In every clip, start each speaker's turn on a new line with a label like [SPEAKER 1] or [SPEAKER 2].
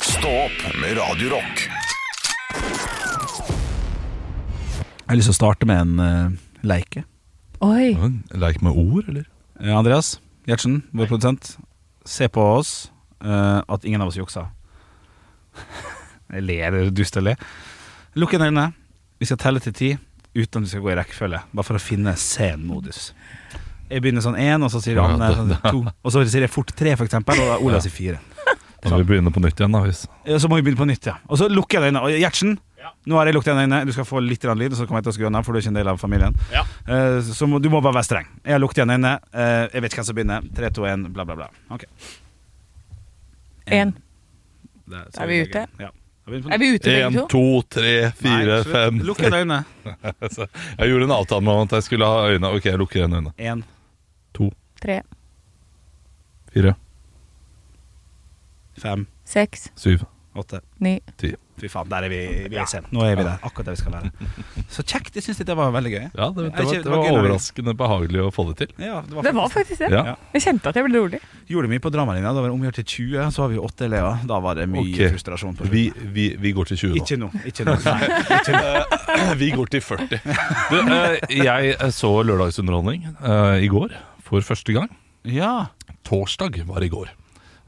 [SPEAKER 1] Stå opp med Radio Rock.
[SPEAKER 2] Jeg har lyst til å starte med en eh, leike.
[SPEAKER 3] Oi.
[SPEAKER 4] Leik med ord, eller?
[SPEAKER 2] Eh, Andreas Gjertsen, vår produsent. Se på oss eh, at ingen av oss juksa. Jeg ler, det er dust å le. Lukk igjen øynene. Vi skal telle til ti uten at vi skal gå i rekkefølge. Bare for å finne sen modus. Jeg begynner sånn én, og så sier
[SPEAKER 4] Ja,
[SPEAKER 2] han eh, sånn,
[SPEAKER 4] det-
[SPEAKER 2] to. Og så sier jeg fort tre, for eksempel, og da Ola sier fire.
[SPEAKER 4] Da må vi begynne på nytt igjen, da. Hvis.
[SPEAKER 2] Ja, Så må vi begynne på nytt, ja. Og så lukker jeg øynene. Og Gjertsen, nå har jeg lukket igjen øynene. Du skal få litt grann lyd, og så kommer jeg til å skru av, for du er ikke en del av familien. Eh, Så må, du må bare være streng. Jeg har lukket igjen øynene. Eh, Jeg vet ikke hvem som begynner. 3, 2, 1, bla, bla, bla. Ok.
[SPEAKER 3] En.
[SPEAKER 2] Der, så
[SPEAKER 3] Er vi ute?
[SPEAKER 2] Ja. Er vi inne på
[SPEAKER 3] Er vi ute
[SPEAKER 4] Én,
[SPEAKER 3] begge to?
[SPEAKER 4] to, tre, fire,
[SPEAKER 2] Nei, slutt.
[SPEAKER 4] fem
[SPEAKER 2] Lukk igjen øynene.
[SPEAKER 4] Altså, Jeg gjorde en avtale med ham at jeg skulle ha øynene Ok, jeg lukker igjen øynene.
[SPEAKER 2] 1,
[SPEAKER 4] To,
[SPEAKER 3] Tre,
[SPEAKER 4] fire,
[SPEAKER 2] 5,
[SPEAKER 3] seks,
[SPEAKER 4] syv,
[SPEAKER 2] 8
[SPEAKER 3] ni.
[SPEAKER 4] ti.
[SPEAKER 2] Fy faen, der er vi, vi er sen. Nå er vi der. Akkurat der vi skal være. Så kjekt. Jeg syns dette var veldig gøy.
[SPEAKER 4] Ja, det,
[SPEAKER 2] Jeg
[SPEAKER 4] det, var,
[SPEAKER 2] kjente-
[SPEAKER 4] det var
[SPEAKER 2] gøy når vi-
[SPEAKER 4] overraskende behagelig å få det til.
[SPEAKER 2] Ja, det var
[SPEAKER 3] Det var
[SPEAKER 2] faktisk
[SPEAKER 3] faktisk det.
[SPEAKER 4] Ja.
[SPEAKER 3] Jeg kjente at jeg ble rolig.
[SPEAKER 2] Gjorde mye på dramalinja. Da var det omgjort til 20, så har vi jo 8 elever. Da var det mye
[SPEAKER 4] Ok.
[SPEAKER 2] frustrasjon. på slutten.
[SPEAKER 4] Vi, vi, vi går til 20 nå.
[SPEAKER 2] Ikke nå. Ikke nå. Nei.
[SPEAKER 4] Vi går til 40. Du, eh, jeg så lørdagsunderholdning eh, i går for første gang.
[SPEAKER 2] Ja.
[SPEAKER 4] Torsdag var i går.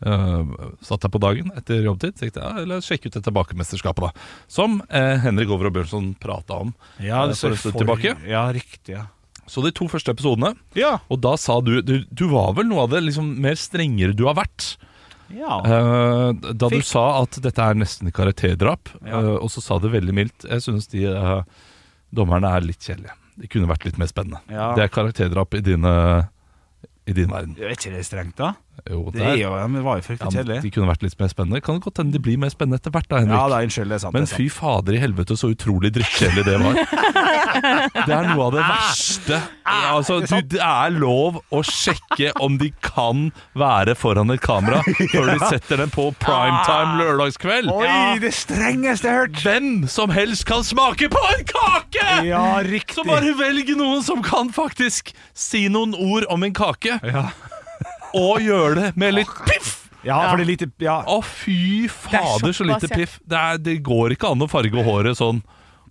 [SPEAKER 4] Eh, satt jeg på dagen etter jobbtid, tenkte jeg ja, la oss sjekke ut det tilbakemesterskapet, da. Som eh, Henrik Over og Bjørnson prata om.
[SPEAKER 2] Ja,
[SPEAKER 4] det står for-
[SPEAKER 2] Ja, riktig. Ja.
[SPEAKER 4] Så de to første episodene,
[SPEAKER 2] Ja.
[SPEAKER 4] og da sa du Du, du var vel noe av det liksom mer strengere du har vært. Eh, da du
[SPEAKER 2] Fikk-
[SPEAKER 4] sa at dette er nesten karakterdrap,
[SPEAKER 2] Ja.
[SPEAKER 4] eh, og så sa du veldig mildt Jeg synes de eh, dommerne er litt kjedelige. De kunne vært litt mer spennende.
[SPEAKER 2] Ja.
[SPEAKER 4] Det er karakterdrap i, dine, i din verden.
[SPEAKER 2] Er ikke det strengt, da?
[SPEAKER 4] Jo,
[SPEAKER 2] Det er jo, ja, men det var jo fryktelig
[SPEAKER 4] ja,
[SPEAKER 2] kjedelig.
[SPEAKER 4] de kunne vært litt mer spennende. Kan det godt hende de blir mer spennende etter hvert, da, Henrik.
[SPEAKER 2] Ja da, unnskyld. Det er sant.
[SPEAKER 4] Men
[SPEAKER 2] det er sant.
[SPEAKER 4] fy fader i helvete, så utrolig drittkjedelig det var. Det er noe av det verste. Altså, du, det er lov å sjekke om de kan være foran et kamera før de setter den på primetime lørdagskveld.
[SPEAKER 2] Oi, det strengeste jeg har hørt!
[SPEAKER 4] Hvem som helst kan smake på en kake!
[SPEAKER 2] Ja,
[SPEAKER 4] Så
[SPEAKER 2] riktig.
[SPEAKER 4] bare velg noen som kan faktisk si noen ord om en kake,
[SPEAKER 2] Ja.
[SPEAKER 4] og gjør det med litt piff!
[SPEAKER 2] ja, for det er lite Ja.
[SPEAKER 4] Å, fy fader, så
[SPEAKER 3] såpass,
[SPEAKER 4] lite
[SPEAKER 3] ja.
[SPEAKER 4] piff. Det, er, det går ikke an å farge håret sånn.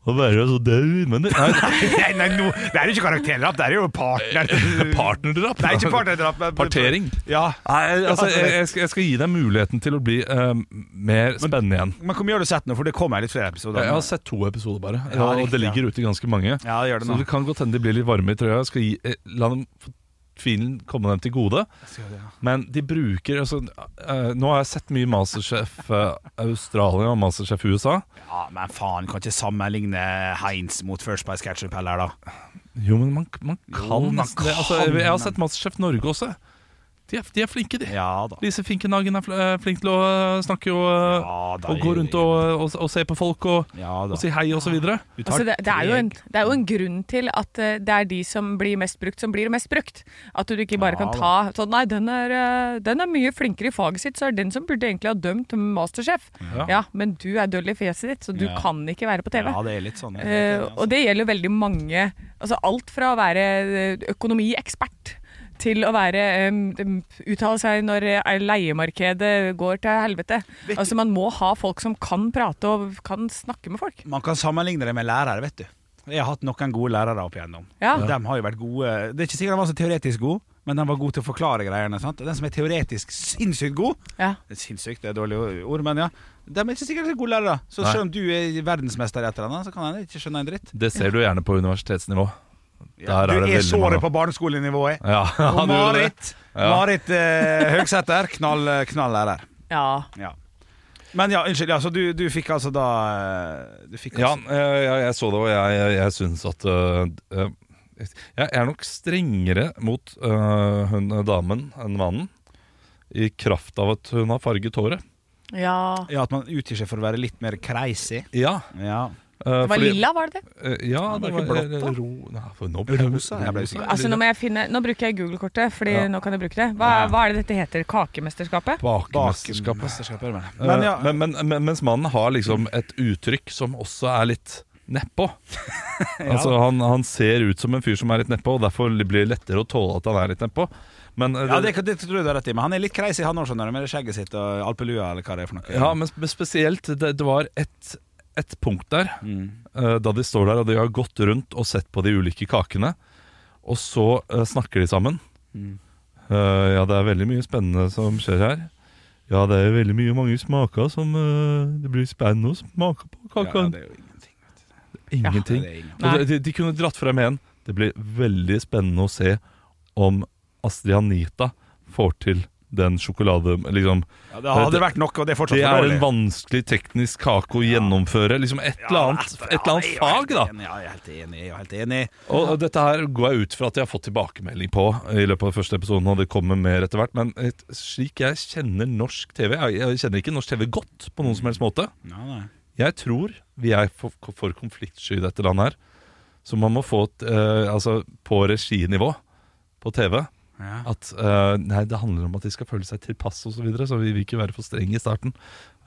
[SPEAKER 4] Å være så død, men det er
[SPEAKER 2] Nei, nei, nå- det er jo ikke karakterdrap, det er jo partner...
[SPEAKER 4] partnerdrap.
[SPEAKER 2] Nei, ikke partnerdrap. men-
[SPEAKER 4] Eh, Partering.
[SPEAKER 2] Ja.
[SPEAKER 4] Nei, altså, jeg, jeg, skal, jeg skal gi deg muligheten til å bli eh, mer spennende igjen.
[SPEAKER 2] Men hvor mye har du sett nå? For det kommer litt flere episoder.
[SPEAKER 4] Jeg har sett to episoder bare,
[SPEAKER 2] Ja,
[SPEAKER 4] og det
[SPEAKER 2] riktig, ja.
[SPEAKER 4] ligger ute ganske mange.
[SPEAKER 2] Ja, det gjør det
[SPEAKER 4] Så
[SPEAKER 2] nå.
[SPEAKER 4] det kan godt hende de blir litt varme i trøya. Jeg Skal gi, eh, la dem få tvilen komme dem til gode. Men de bruker altså, eh, Nå har jeg sett mye Masterchef eh, Australia og Masterchef USA.
[SPEAKER 2] Ja, men faen, kan ikke sammenligne Heinz mot First Spice Ketchup heller, da.
[SPEAKER 4] Jo, men man, man
[SPEAKER 2] Jo,
[SPEAKER 4] kan
[SPEAKER 2] man
[SPEAKER 4] nesten det. Altså,
[SPEAKER 2] kan,
[SPEAKER 4] jeg har
[SPEAKER 2] men-
[SPEAKER 4] sett Masterchef Norge også. De er, de er flinke, de.
[SPEAKER 2] Ja da.
[SPEAKER 4] Lise Finkenhagen er fl- eh, flink til å eh, snakke og, eh,
[SPEAKER 2] Ja, da
[SPEAKER 4] og gå rundt og, og, og se på folk og,
[SPEAKER 2] Ja da.
[SPEAKER 4] og si hei og så videre.
[SPEAKER 2] Du tar
[SPEAKER 3] Altså, det, det, er jo
[SPEAKER 2] tre-
[SPEAKER 3] en, det er jo en grunn til at eh, det er de som blir mest brukt, som blir mest brukt. At du ikke bare
[SPEAKER 2] Ja,
[SPEAKER 3] kan ta sånn Nei, den er, eh, den er mye flinkere i faget sitt, så er det den som burde egentlig ha dømt Masterchef.
[SPEAKER 4] Ja.
[SPEAKER 3] Ja, men du er døll i fjeset ditt, så du
[SPEAKER 2] Ja.
[SPEAKER 3] kan ikke være på TV.
[SPEAKER 2] Ja, det er litt sånn.
[SPEAKER 3] Eh, og det gjelder jo veldig mange. Altså alt fra å være eh, økonomiekspert til å være em, em, uttale seg når eh, leiemarkedet går til helvete. Altså Man må ha folk som kan prate og kan snakke med folk.
[SPEAKER 2] Man kan sammenligne det med lærere, vet du. Jeg har hatt noen gode lærere opp igjennom.
[SPEAKER 3] Ja.
[SPEAKER 2] De har jo vært gode Det er ikke sikkert de var så teoretisk gode, men de var gode til å forklare greiene. Sant? Den som er teoretisk sinnssykt god
[SPEAKER 3] Ja.
[SPEAKER 2] det er Sinnssykt, det er dårlige ord, men ja. De er ikke sikkert så gode lærere. Så
[SPEAKER 4] Nei.
[SPEAKER 2] selv om du er verdensmester i et eller annet, så kan han ikke skjønne en dritt.
[SPEAKER 4] Det ser du gjerne på universitetsnivå.
[SPEAKER 2] Ja,
[SPEAKER 4] Der er
[SPEAKER 2] du
[SPEAKER 4] det
[SPEAKER 2] er
[SPEAKER 4] veldig
[SPEAKER 2] såret
[SPEAKER 4] mange.
[SPEAKER 2] på barneskolenivået. jeg.
[SPEAKER 4] Ja,
[SPEAKER 2] Og
[SPEAKER 4] du gjorde det.
[SPEAKER 2] Marit, Marit eh, Høgsæter, knall, eh, knall lærer.
[SPEAKER 3] ja.
[SPEAKER 2] Ja. Men ja, unnskyld. Ja, så du, du fikk altså da eh, Du fikk
[SPEAKER 4] Ja,
[SPEAKER 2] altså
[SPEAKER 4] jeg, jeg, jeg så det, og jeg, jeg, jeg syns at øh, øh, Jeg er nok strengere mot øh, hun damen enn mannen. I kraft av at hun har farget håret.
[SPEAKER 3] ja.
[SPEAKER 2] ja, At man utgir seg for å være litt mer crazy.
[SPEAKER 4] Ja,
[SPEAKER 2] Ja.
[SPEAKER 4] Eh,
[SPEAKER 3] Det var lilla, var det det?
[SPEAKER 4] ja,
[SPEAKER 2] var
[SPEAKER 4] det
[SPEAKER 2] ikke
[SPEAKER 4] var
[SPEAKER 2] blått, da.
[SPEAKER 4] eh, ro- Nei, for nå
[SPEAKER 2] Rosa, jeg ble usikker.
[SPEAKER 3] Altså Nå må jeg finne Nå bruker jeg Google-kortet, Fordi
[SPEAKER 4] Ja.
[SPEAKER 3] nå kan jeg bruke det. Hva, hva er det dette heter? Kakemesterskapet?
[SPEAKER 4] Bakemesterskapet. Eh,
[SPEAKER 2] Men ja,
[SPEAKER 4] men, men, men, mens mannen har liksom et uttrykk som også er litt nedpå. altså, han, han ser ut som en fyr som er litt nedpå, og derfor blir det lettere å tåle at han er litt nedpå. Men, eh,
[SPEAKER 2] Ja, det, det tror jeg du har rett i, men han er litt crazy, han òg, skjønner du, med det skjegget sitt og alpelua eller hva det er for noe.
[SPEAKER 4] Ja, men sp- spesielt Det, det var ett et punkt der,
[SPEAKER 2] Mm.
[SPEAKER 4] eh, da de står der og de har gått rundt og sett på de ulike kakene. Og så eh, snakker de sammen. Mm. Eh, ja, det er veldig mye spennende som skjer her. Ja, det er veldig mye mange smaker som eh, det blir spennende å smake på.
[SPEAKER 2] Ja,
[SPEAKER 4] Kaken.
[SPEAKER 2] det er jo ingenting. Ja,
[SPEAKER 4] Ingenting.
[SPEAKER 2] det er ingenting.
[SPEAKER 4] Og
[SPEAKER 3] Nei.
[SPEAKER 4] de, de, de kunne dratt frem en. Det blir veldig spennende å se om Astrid Anita får til den sjokolade... Liksom,
[SPEAKER 2] Ja, det hadde vært nok, og det er fortsatt
[SPEAKER 4] det
[SPEAKER 2] for
[SPEAKER 4] er en
[SPEAKER 2] dårlig.
[SPEAKER 4] vanskelig teknisk kake å gjennomføre. Liksom et eller annet, et eller annet fag, da.
[SPEAKER 2] altså, Ja, jeg er helt enig. Jeg er helt enig.
[SPEAKER 4] Og, og dette her går jeg ut fra at jeg har fått tilbakemelding på i løpet av den første episoden, og det kommer mer etter hvert. Men et, slik jeg kjenner norsk TV jeg, jeg kjenner ikke norsk TV godt på noen som helst måte.
[SPEAKER 2] Ja, nei.
[SPEAKER 4] Jeg tror vi er for, for konfliktsky i dette landet her. Så man må få et, eh, altså, på reginivå på TV
[SPEAKER 2] Ja.
[SPEAKER 4] at eh, nei, det handler om at de skal føle seg tilpass osv., så, videre, så vi vil ikke være for strenge i starten.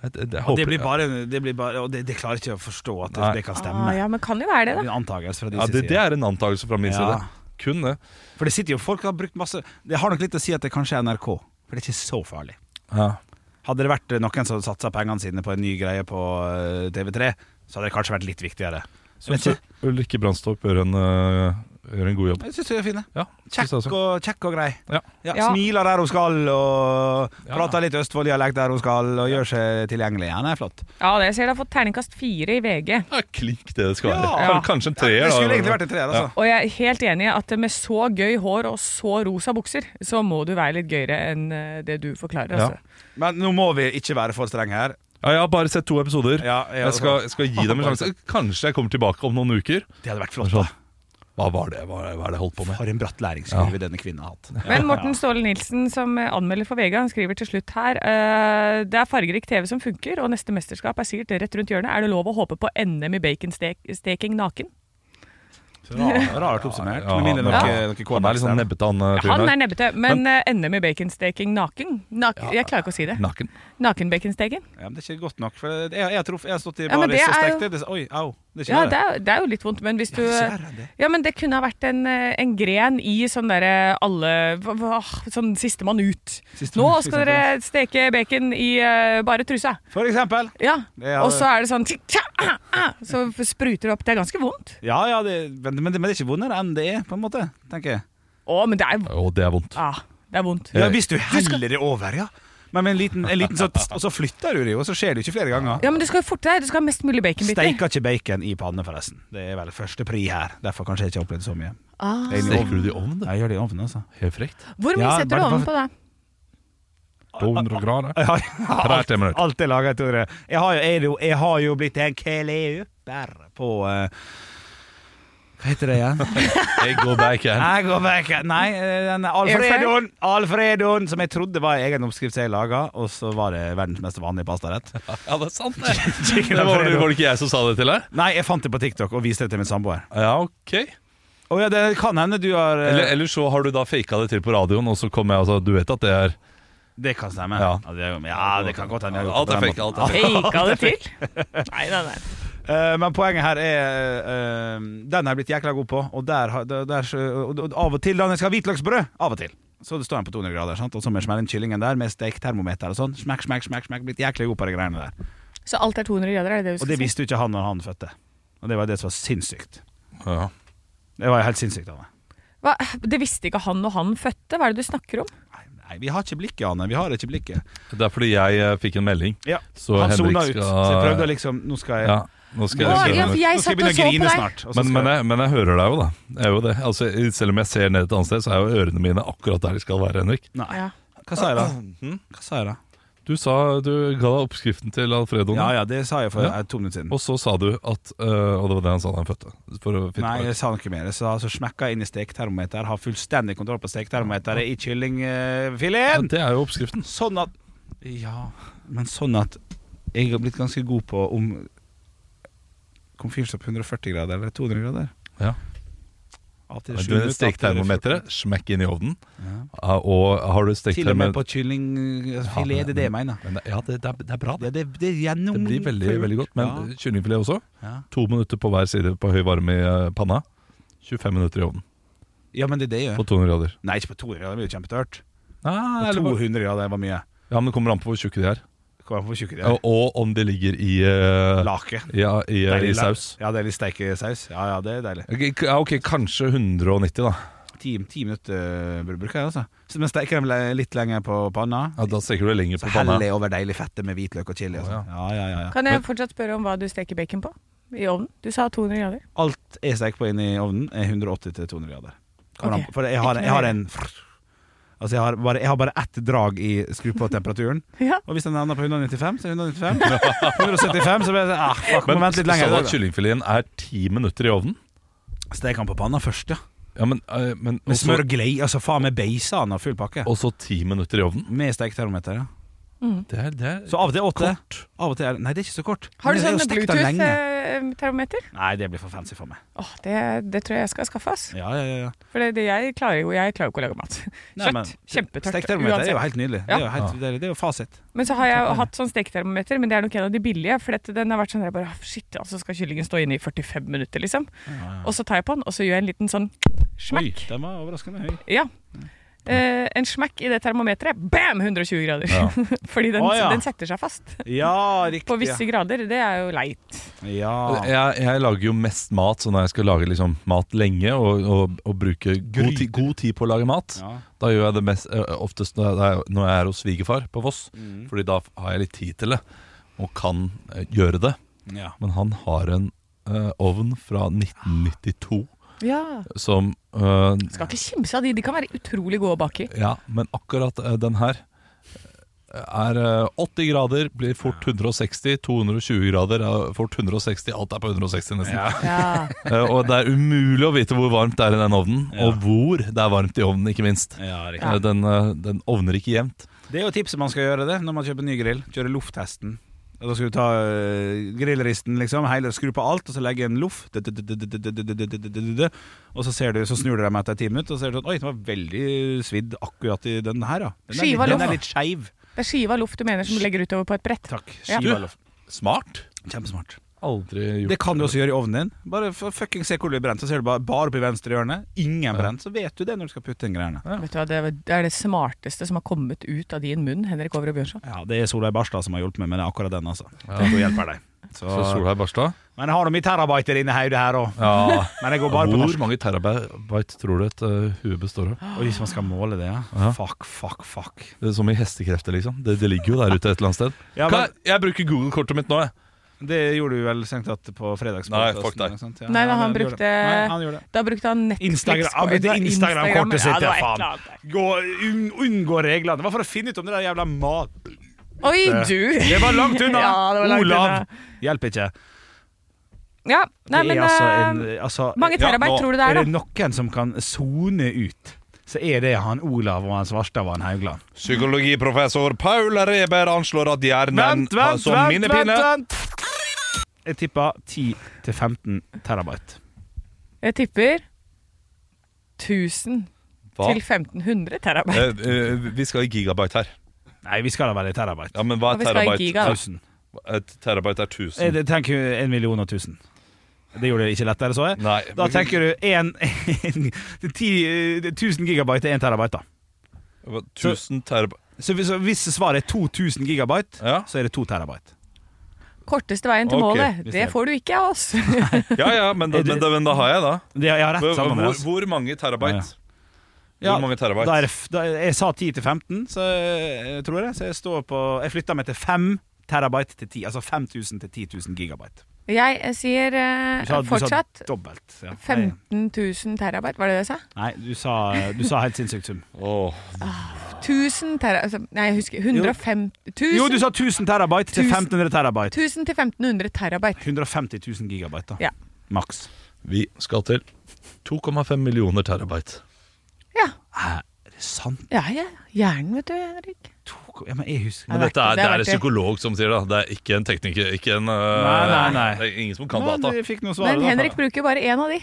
[SPEAKER 4] Jeg, jeg, jeg håper-
[SPEAKER 2] Det blir bare, det blir bare Og det, det klarer ikke å forstå at det,
[SPEAKER 4] Nei.
[SPEAKER 2] det kan
[SPEAKER 3] Ah,
[SPEAKER 2] stemme.
[SPEAKER 3] ja, men kan jo være det,
[SPEAKER 2] Det
[SPEAKER 3] da.
[SPEAKER 2] er en antakelse fra de
[SPEAKER 4] Ja,
[SPEAKER 2] sin
[SPEAKER 4] det, det
[SPEAKER 2] side.
[SPEAKER 4] er en antakelse fra min
[SPEAKER 2] Ja.
[SPEAKER 4] side. Kun det.
[SPEAKER 2] For det sitter jo folk har brukt masse Det har nok litt å si at det kanskje er NRK, for det er ikke så farlig. Hadde det vært eh, noen som satsa pengene sine på en ny greie på eh, TV3, så hadde det kanskje vært litt viktigere.
[SPEAKER 4] Så,
[SPEAKER 2] Men
[SPEAKER 4] så
[SPEAKER 2] ikke-
[SPEAKER 4] Ulrikke Brandstorp gjør en, øh, gjør en god jobb.
[SPEAKER 2] jeg syns du er fin. jeg.
[SPEAKER 4] Ja, synes
[SPEAKER 2] Kjekk
[SPEAKER 4] jeg også.
[SPEAKER 2] og, kjekk og grei.
[SPEAKER 4] Ja.
[SPEAKER 3] Ja.
[SPEAKER 2] Smiler der hun skal, og
[SPEAKER 4] Ja.
[SPEAKER 2] prater litt Østfold-dialekt der hun skal, og gjør seg tilgjengelig. Han er flott.
[SPEAKER 3] Ja, det jeg ser du har fått terningkast fire i VG.
[SPEAKER 4] Ja, klink det det skal være.
[SPEAKER 2] Ja.
[SPEAKER 4] Kan- Kanskje en treer.
[SPEAKER 2] det
[SPEAKER 4] da.
[SPEAKER 2] skulle egentlig vært en treer, altså.
[SPEAKER 3] Og jeg er helt enig i at med så gøy hår og så rosa bukser, så må du være litt gøyere enn eh, det du forklarer,
[SPEAKER 4] Ja.
[SPEAKER 3] altså.
[SPEAKER 2] Men nå må vi ikke være for strenge her.
[SPEAKER 4] Ja, jeg har bare sett to episoder.
[SPEAKER 2] Ja, jeg-
[SPEAKER 4] jeg, skal, jeg skal gi dem en sjanse. Kanskje jeg kommer tilbake om noen uker.
[SPEAKER 2] Det hadde vært flott.
[SPEAKER 4] Sånn.
[SPEAKER 2] da
[SPEAKER 4] Hva var det hva, hva er det jeg holdt på med?
[SPEAKER 2] For en bratt læringskurve denne kvinnen har hatt.
[SPEAKER 3] Men Morten Ståle Nilsen, som eh, anmelder for VG, han skriver til slutt her eh, Det er fargerik TV som funker, og neste mesterskap er sikkert rett rundt hjørnet. Er det lov å håpe på NM i baconsteking naken?
[SPEAKER 2] Rar- Rart oppsummert.
[SPEAKER 4] Ja,
[SPEAKER 2] med mindre
[SPEAKER 4] ja.
[SPEAKER 2] noe, noe
[SPEAKER 4] Han er litt sånn nebbete, han øh,
[SPEAKER 3] Han
[SPEAKER 4] fyren
[SPEAKER 3] er
[SPEAKER 4] der.
[SPEAKER 3] nebbete, men, eh, NM i baconsteking naken? Nak Jeg klarer ikke å si det.
[SPEAKER 4] Naken.
[SPEAKER 3] Nakenbaconsteking?
[SPEAKER 2] Ja, men det er ikke godt nok. For jeg, jeg, har truff- jeg har stått i
[SPEAKER 3] Ja, men
[SPEAKER 2] baris
[SPEAKER 3] det
[SPEAKER 2] og
[SPEAKER 3] er jo-
[SPEAKER 2] stekt det. det. Oi, au. Det er ikke
[SPEAKER 3] Ja,
[SPEAKER 2] verre.
[SPEAKER 3] det er, det er jo litt vondt, men hvis du
[SPEAKER 2] det er verre enn det.
[SPEAKER 3] Ja, men det kunne ha vært en, eh, en gren i sånn derre alle hva- hva- Sånn sistemann ut.
[SPEAKER 2] Sistemann
[SPEAKER 3] Nå
[SPEAKER 2] ut,
[SPEAKER 3] skal dere steke bacon i eh, bare trusa.
[SPEAKER 2] For eksempel.
[SPEAKER 3] Ja.
[SPEAKER 2] Det er-
[SPEAKER 3] Og så er det sånn tikk, tja, ah, ah, Så spruter det opp. Det er ganske vondt.
[SPEAKER 2] Ja, ja, det, men, men, det- men det er ikke vondere enn det er, på en måte. tenker jeg
[SPEAKER 3] Å, men det er
[SPEAKER 4] Å, det er vondt.
[SPEAKER 3] ah, Det er vondt.
[SPEAKER 2] Ja, Hvis du heller det over, ja. Men med en liten, en liten sånn tss, Og så flytter du det jo, og så skjer det jo ikke flere ganger.
[SPEAKER 3] Ja, men du skal jo forte deg. Du skal ha mest mulig baconbiter.
[SPEAKER 2] Steiker ikke bacon i panne, forresten. Det er vel første pri her. Derfor kanskje jeg ikke har opplevd så mye.
[SPEAKER 3] Ah.
[SPEAKER 2] Jeg er inne i
[SPEAKER 4] Steker
[SPEAKER 2] ovnen.
[SPEAKER 4] du det i ovnen?
[SPEAKER 2] Ja,
[SPEAKER 4] det?
[SPEAKER 2] Jeg gjør det i ovnen, altså.
[SPEAKER 4] Helt frekt.
[SPEAKER 3] Hvor mye
[SPEAKER 2] Ja,
[SPEAKER 3] setter du
[SPEAKER 2] bare- bare-
[SPEAKER 3] ovenpå da?
[SPEAKER 4] 200 grader.
[SPEAKER 2] Jeg har,
[SPEAKER 4] Alt-
[SPEAKER 2] alt, alt er laget, Tore. Jeg har jo, jeg, er jo- jeg har jo blitt en keleuper på eh, Hva heter det igjen?
[SPEAKER 4] Jeg går back in.
[SPEAKER 2] Jeg går vekk. Nei, eh, den Alfredoen, Alfredoen, som jeg trodde var en egen oppskrift som jeg laga, og så var det verdens mest vanlige pastarett.
[SPEAKER 4] Ja, det er sant, det. Det var, var det ikke jeg som sa det til deg?
[SPEAKER 2] Nei, jeg fant det på TikTok og viste det til min samboer.
[SPEAKER 4] Ja, ok.
[SPEAKER 2] Å ja, det kan hende du har eh,
[SPEAKER 4] Eller, eller så har du da faka det til på radioen, og så kommer jeg og sa du vet at det er
[SPEAKER 2] Det kan stemme. Ja,
[SPEAKER 4] Ja.
[SPEAKER 2] det, er jo- ja, det kan godt hende. jeg har gjort
[SPEAKER 4] Alt
[SPEAKER 2] det
[SPEAKER 4] er
[SPEAKER 2] på den
[SPEAKER 4] fake.
[SPEAKER 2] måten.
[SPEAKER 4] Alt er fake.
[SPEAKER 3] Faka det til? Nei, nei, nei.
[SPEAKER 2] Eh, men poenget her er eh, Den har jeg blitt jækla god på. Og, der, har- der, der, og, og av og til da når jeg skal ha hvitløksbrød Av og til. Så det står den på 200 grader, sant? og så må jeg smelle inn kyllingen der med steketermometer og sånn. Smekk, smekk, smekk, smekk. Blitt jækla god på de greiene der.
[SPEAKER 3] Så alt er 200 grader, er det det du
[SPEAKER 2] Og
[SPEAKER 3] skal
[SPEAKER 2] det
[SPEAKER 3] si?
[SPEAKER 2] visste jo ikke han når han fødte. Og det var det som var sinnssykt.
[SPEAKER 4] Ja.
[SPEAKER 2] Det var jo helt sinnssykt av meg.
[SPEAKER 3] Hva? Det visste ikke han når han fødte? Hva er det du snakker om?
[SPEAKER 2] Nei, nei, vi har ikke blikket, Anne. Vi har ikke blikket.
[SPEAKER 4] Det er fordi jeg eh, fikk en melding.
[SPEAKER 2] Ja,
[SPEAKER 4] Så
[SPEAKER 2] han
[SPEAKER 4] Henrik
[SPEAKER 2] sona ut.
[SPEAKER 4] skal-
[SPEAKER 2] Så jeg prøvde liksom Nå skal jeg
[SPEAKER 4] Ja, nå skal
[SPEAKER 3] Å,
[SPEAKER 4] jeg
[SPEAKER 3] ja, for
[SPEAKER 4] skrive
[SPEAKER 3] jeg
[SPEAKER 2] Nå skal jeg
[SPEAKER 3] satt og
[SPEAKER 2] begynne å
[SPEAKER 3] så på
[SPEAKER 2] grine
[SPEAKER 3] deg.
[SPEAKER 2] snart. og så
[SPEAKER 4] men,
[SPEAKER 2] skal
[SPEAKER 4] men,
[SPEAKER 2] jeg-
[SPEAKER 4] jeg, men jeg hører deg jo, da. Jeg er jo det. Altså, selv om jeg ser ned et annet sted, så er jo ørene mine akkurat der de skal være. Henrik
[SPEAKER 2] Nei.
[SPEAKER 3] Ja.
[SPEAKER 2] Hva sa jeg da?
[SPEAKER 4] Mm.
[SPEAKER 2] Hva sa jeg da?
[SPEAKER 4] Du sa du ga deg oppskriften til Alfredoen,
[SPEAKER 2] Ja ja, det sa jeg for
[SPEAKER 4] Ja.
[SPEAKER 2] eh, to minutter siden.
[SPEAKER 4] og så sa du at eh, Og det var det han sa da han fødte. For å finne
[SPEAKER 2] Nei,
[SPEAKER 4] ut.
[SPEAKER 2] jeg sa noe mer. Så altså, smekka inn i steketermometer, har fullstendig kontroll på steketermometeret i
[SPEAKER 4] ja,
[SPEAKER 2] kyllingfileten.
[SPEAKER 4] det er jo oppskriften.
[SPEAKER 2] Sånn at Ja, men sånn at jeg har blitt ganske god på om komfyrstopp 140 grader eller 200 grader.
[SPEAKER 4] Ja.
[SPEAKER 2] Av og til
[SPEAKER 4] Men
[SPEAKER 2] sju
[SPEAKER 4] Du
[SPEAKER 2] minutter, av og
[SPEAKER 4] Steketermometeret, smekk inn i ovnen.
[SPEAKER 2] Ja.
[SPEAKER 4] Ah, Og har du
[SPEAKER 2] til- Til og med
[SPEAKER 4] steketermometer
[SPEAKER 2] på kyllingfilet,
[SPEAKER 4] Ja,
[SPEAKER 2] det er det jeg mener.
[SPEAKER 4] Men det- Ja, det, det, er, det er bra. Det,
[SPEAKER 2] Ja, det, det er gjennom
[SPEAKER 4] det blir veldig, veldig godt. Men
[SPEAKER 2] Ja.
[SPEAKER 4] kyllingfilet også.
[SPEAKER 2] Ja.
[SPEAKER 4] To minutter på hver side på høy varme i eh, panna. 25 minutter i ovnen
[SPEAKER 2] ja, men det er det jeg
[SPEAKER 4] på
[SPEAKER 2] gjør.
[SPEAKER 4] 200 grader.
[SPEAKER 2] Nei, ikke på 200 grader, det blir jo kjempetørt.
[SPEAKER 4] Ah,
[SPEAKER 2] Og
[SPEAKER 4] eller bare-
[SPEAKER 2] 200, ja, det var mye.
[SPEAKER 4] ja, men det kommer an på hvor tjukke de er.
[SPEAKER 2] Kom an på hvor tjukke de
[SPEAKER 4] Og,
[SPEAKER 2] er.
[SPEAKER 4] og om de ligger i, eh,
[SPEAKER 2] Lake.
[SPEAKER 4] ja, i, eh, i
[SPEAKER 2] Deilig la-
[SPEAKER 4] saus.
[SPEAKER 2] Ja, det er litt steikesaus. Ja, ja, det er deilig.
[SPEAKER 4] Ok, k- ja, ok, kanskje 190, da.
[SPEAKER 2] Ti, ti minutter br- bruker jeg, altså. Så Men steiker dem le- litt lenger på panna.
[SPEAKER 4] Ja, da steker du det lenger
[SPEAKER 2] Så
[SPEAKER 4] på
[SPEAKER 2] heller
[SPEAKER 4] panna.
[SPEAKER 2] jeg over deilig fette med hvitløk og chili. Og sånn. ja, ja, ja, ja.
[SPEAKER 3] Kan jeg fortsatt spørre om hva du steker bacon på? I ovnen? Du sa 200 grader.
[SPEAKER 2] Alt jeg steker på inni ovnen, er 180-200 grader. Kommer
[SPEAKER 3] Ok.
[SPEAKER 2] an på- For jeg har, jeg har en Altså, jeg har, bare, jeg har bare ett drag i skru på temperaturen.
[SPEAKER 3] Ja.
[SPEAKER 2] Og hvis den ender på 195, så er 195. 175, så blir det ah, fuck, må
[SPEAKER 4] Men
[SPEAKER 2] vente litt lenger. i
[SPEAKER 4] så
[SPEAKER 2] dag,
[SPEAKER 4] at
[SPEAKER 2] da.
[SPEAKER 4] kyllingfileten er ti minutter i ovnen?
[SPEAKER 2] Stek han på panna først, ja.
[SPEAKER 4] Ja, men, eh, men
[SPEAKER 2] Med smør
[SPEAKER 4] også,
[SPEAKER 2] og glei. Altså faen med beisan og full pakke.
[SPEAKER 4] også ti minutter i ovnen?
[SPEAKER 2] Med steketermometer, ja.
[SPEAKER 3] Mm.
[SPEAKER 4] Det er, det er
[SPEAKER 2] Så av og til er åtte. Av og til er Nei, det er ikke så kort.
[SPEAKER 3] Har du
[SPEAKER 2] Men det
[SPEAKER 3] sånn
[SPEAKER 2] er jo stekt den lenge.
[SPEAKER 3] Bluetooth-termometer?
[SPEAKER 2] Nei, det blir for fancy for meg.
[SPEAKER 3] Åh, det, det tror jeg jeg skal skaffe, ass.
[SPEAKER 2] Ja, ja, ja, ja.
[SPEAKER 3] For det, det, jeg klarer jo jeg klarer jo ikke å lage mat.
[SPEAKER 2] Nei, men-
[SPEAKER 3] Kjøtt. Kjempetørt.
[SPEAKER 2] Steketermometer er jo helt nydelig. Det, er jo
[SPEAKER 3] Ja.
[SPEAKER 2] helt, det, er, det er jo fasit.
[SPEAKER 3] Men så har jeg jo hatt sånn steketermometer, men det er nok en av de billige. For dette, den har vært sånn der jeg bare, «Ah, Shit, altså skal kyllingen stå inne i 45 minutter, liksom. Og så tar jeg på den, og så gjør jeg en liten sånn
[SPEAKER 2] Oi,
[SPEAKER 3] smekk.
[SPEAKER 2] den var overraskende høy.
[SPEAKER 3] Ja. Eh, en smekk i det termometeret. Bam! 120 grader. Fordi den,
[SPEAKER 2] Å, ja.
[SPEAKER 3] den setter seg fast.
[SPEAKER 2] Ja, riktig.
[SPEAKER 3] På visse grader. Det er jo leit.
[SPEAKER 2] Ja.
[SPEAKER 4] jeg, jeg lager jo mest mat så når jeg skal lage liksom, mat lenge og, og, og bruke god,
[SPEAKER 2] Gryter.
[SPEAKER 4] ti, god tid på å lage mat.
[SPEAKER 2] Ja.
[SPEAKER 4] Da gjør jeg det mest, eh, oftest når jeg, når jeg er hos svigerfar på Voss, Fordi da har jeg litt tid til det og kan eh, gjøre det.
[SPEAKER 2] ja.
[SPEAKER 4] Men han har en eh, ovn fra 1992
[SPEAKER 3] Ja.
[SPEAKER 4] som eh,
[SPEAKER 3] Skal ikke kimse av de. De kan være utrolig gode å bake i.
[SPEAKER 4] Ja, men akkurat eh, den her eh, er eh, 80 grader, blir fort 160, 220 grader, er fort 160, alt er på 160 nesten.
[SPEAKER 3] Ja.
[SPEAKER 4] Eh, og det er umulig å vite hvor varmt det er i den ovnen,
[SPEAKER 2] Ja.
[SPEAKER 4] og hvor det er varmt i ovnen, ikke minst.
[SPEAKER 2] ja, riktig.
[SPEAKER 4] Eh, Den, eh, den ovner ikke jevnt.
[SPEAKER 2] Det er jo tipset man skal gjøre det når man kjøper ny grill. Kjøre lofftesten. Og Da skal du ta øh, grillristen, liksom. Hele, skru på alt, og så legge en loff. Og så, ser du, så snur du dem etter ti minutter, og så ser du sånn Oi, den var veldig svidd akkurat i den her, ja. Den er,
[SPEAKER 3] Skiva
[SPEAKER 2] litt- den
[SPEAKER 3] loff.
[SPEAKER 2] er litt skeiv.
[SPEAKER 3] Det er skive av loff du mener som du legger utover på et brett.
[SPEAKER 2] Takk.
[SPEAKER 3] Ja.
[SPEAKER 2] Skiva
[SPEAKER 4] Du-
[SPEAKER 2] loff.
[SPEAKER 4] Smart.
[SPEAKER 2] Kjempesmart.
[SPEAKER 4] Aldri gjort
[SPEAKER 2] Det kan du også gjøre i ovnen din. Bare f- fucking se hvor du er brent, så ser du bare, bare oppi venstre hjørne. Ingen brent. Så vet du det når du skal putte inn greiene.
[SPEAKER 3] Vet du hva, det er- det er det smarteste som har kommet ut av din munn, Henrik Over og Bjørnson.
[SPEAKER 2] Ja, det er Solveig Barstad som har hjulpet meg med det, akkurat den, altså. Hun hjelper deg. Så,
[SPEAKER 4] Så Solveig Barstad?
[SPEAKER 2] men jeg har nå mye terabyter inni hodet her òg.
[SPEAKER 4] Ja.
[SPEAKER 2] Men jeg går bare på
[SPEAKER 4] Hvor
[SPEAKER 2] norsk.
[SPEAKER 4] mange terabyte tror du et eh, hue består av?
[SPEAKER 2] Oi, hvis man skal måle det, ja.
[SPEAKER 4] Ja.
[SPEAKER 2] Fuck, fuck, fuck.
[SPEAKER 4] Det er som i hestekrefter, liksom. Det, det ligger jo der ute et eller annet sted.
[SPEAKER 2] Ja, men-
[SPEAKER 4] Hva? Jeg bruker Google-kortet mitt nå, jeg.
[SPEAKER 2] Det gjorde du vel strengt tatt på fredagspodkasten?
[SPEAKER 4] Nei, fuck deg.
[SPEAKER 2] ikke sant? Ja,
[SPEAKER 3] Nei, da,
[SPEAKER 2] ja,
[SPEAKER 3] han
[SPEAKER 2] gjorde det.
[SPEAKER 3] brukte-
[SPEAKER 2] Nei, han gjorde det.
[SPEAKER 3] Da brukte han
[SPEAKER 2] Instagram-
[SPEAKER 3] Netflix
[SPEAKER 2] han brukte
[SPEAKER 3] Det var
[SPEAKER 2] Instagram-kortet sitt,
[SPEAKER 3] ja, det
[SPEAKER 2] ja,
[SPEAKER 3] var et
[SPEAKER 2] faen.
[SPEAKER 3] eller annet der.
[SPEAKER 2] Gå, un, unngå reglene. Det var for å finne ut om det der jævla mat...
[SPEAKER 3] Oi, du!
[SPEAKER 2] Det var langt unna!
[SPEAKER 3] Ja, det var langt
[SPEAKER 2] Olav!
[SPEAKER 3] unna.
[SPEAKER 2] Hjelper ikke.
[SPEAKER 3] Ja, nei,
[SPEAKER 2] det
[SPEAKER 3] men
[SPEAKER 2] er altså
[SPEAKER 3] eh,
[SPEAKER 2] en, altså,
[SPEAKER 3] mange terabyte
[SPEAKER 2] nå
[SPEAKER 3] tror du det er,
[SPEAKER 2] Er det noen som kan sone ut, så er det han Olav og han Svarstad og han Haugland.
[SPEAKER 4] Psykologiprofessor Paula Reber anslår at hjernen har
[SPEAKER 3] altså,
[SPEAKER 4] som minnepinne
[SPEAKER 2] Jeg tipper 10-15 terabyte.
[SPEAKER 3] Jeg tipper 1000
[SPEAKER 4] Hva?
[SPEAKER 3] til 1500 terabyte.
[SPEAKER 4] Eh, eh, vi skal i gigabyte her.
[SPEAKER 2] Nei, vi skal da være i terabyte.
[SPEAKER 4] Ja, men hva
[SPEAKER 3] Og
[SPEAKER 4] er
[SPEAKER 3] vi skal i
[SPEAKER 4] terabyte?
[SPEAKER 3] giga, da.
[SPEAKER 2] Tusen.
[SPEAKER 4] Et terabyte er
[SPEAKER 2] Eh,
[SPEAKER 4] 1000.
[SPEAKER 2] det- Tenk jo en million og tusen. Det gjorde det ikke lettere, så jeg.
[SPEAKER 4] Nei.
[SPEAKER 2] Da tenker du en, en, ti- eh, 1000 gigabyte er 1 terabyte, da.
[SPEAKER 4] Hva, 1000 terabyte
[SPEAKER 2] Så hvis, så hvis svaret er 2000 gigabyte,
[SPEAKER 4] ja.
[SPEAKER 2] så er det 2 terabyte.
[SPEAKER 3] Korteste veien til
[SPEAKER 4] Ok,
[SPEAKER 3] målet.
[SPEAKER 2] Eh, hvis
[SPEAKER 3] Det
[SPEAKER 2] det-
[SPEAKER 3] får du ikke av oss.
[SPEAKER 4] ja, ja, men da, men, da, men da har jeg, da.
[SPEAKER 2] Det, jeg har rett
[SPEAKER 4] Hvor,
[SPEAKER 2] sammen med
[SPEAKER 4] hvor,
[SPEAKER 2] deg.
[SPEAKER 4] hvor mange
[SPEAKER 2] Ja.
[SPEAKER 4] terabyte?
[SPEAKER 2] Ja,
[SPEAKER 4] Hvor mange
[SPEAKER 2] Da er
[SPEAKER 4] terabyte?
[SPEAKER 2] det, f- da, jeg sa 10 til 15, så jeg, tror jeg. Så jeg står på Jeg flytta meg til 5 terabyte til 10. Altså 5000 til 10 000 gigabyte.
[SPEAKER 3] Jeg eh, sier eh,
[SPEAKER 2] Du sa- du sa
[SPEAKER 3] fortsatt
[SPEAKER 2] Dobbelt. Ja.
[SPEAKER 3] 15 000 terabyte, var det det jeg sa?
[SPEAKER 2] Nei, du sa, du sa helt sinnssykt sum.
[SPEAKER 4] Åh.
[SPEAKER 3] 1000 terabyte altså, Nei, jeg husker 150 1000,
[SPEAKER 2] Jo, du sa 1000 terabyte til
[SPEAKER 3] Tusen.
[SPEAKER 2] 1500 terabyte.
[SPEAKER 3] 1000 til 1500 terabyte.
[SPEAKER 2] 150 000 gigabyte, da.
[SPEAKER 3] Ja.
[SPEAKER 2] Maks.
[SPEAKER 4] Vi skal til 2,5 millioner terabyte.
[SPEAKER 3] Ja.
[SPEAKER 2] Er det sant?
[SPEAKER 3] ja, ja. Hjernen, vet du, Henrik.
[SPEAKER 2] To- Ja, men jeg husker
[SPEAKER 3] Men
[SPEAKER 4] Men dette er,
[SPEAKER 3] det
[SPEAKER 4] det
[SPEAKER 3] har
[SPEAKER 4] er en
[SPEAKER 3] vært det.
[SPEAKER 4] psykolog som sier det. Det er ikke en tekniker. Ikke en, eh,
[SPEAKER 2] Nei, nei, nei.
[SPEAKER 4] Det er ingen som kan data.
[SPEAKER 2] Men jeg fikk noe svar.
[SPEAKER 3] Men Henrik bruker bare én av de.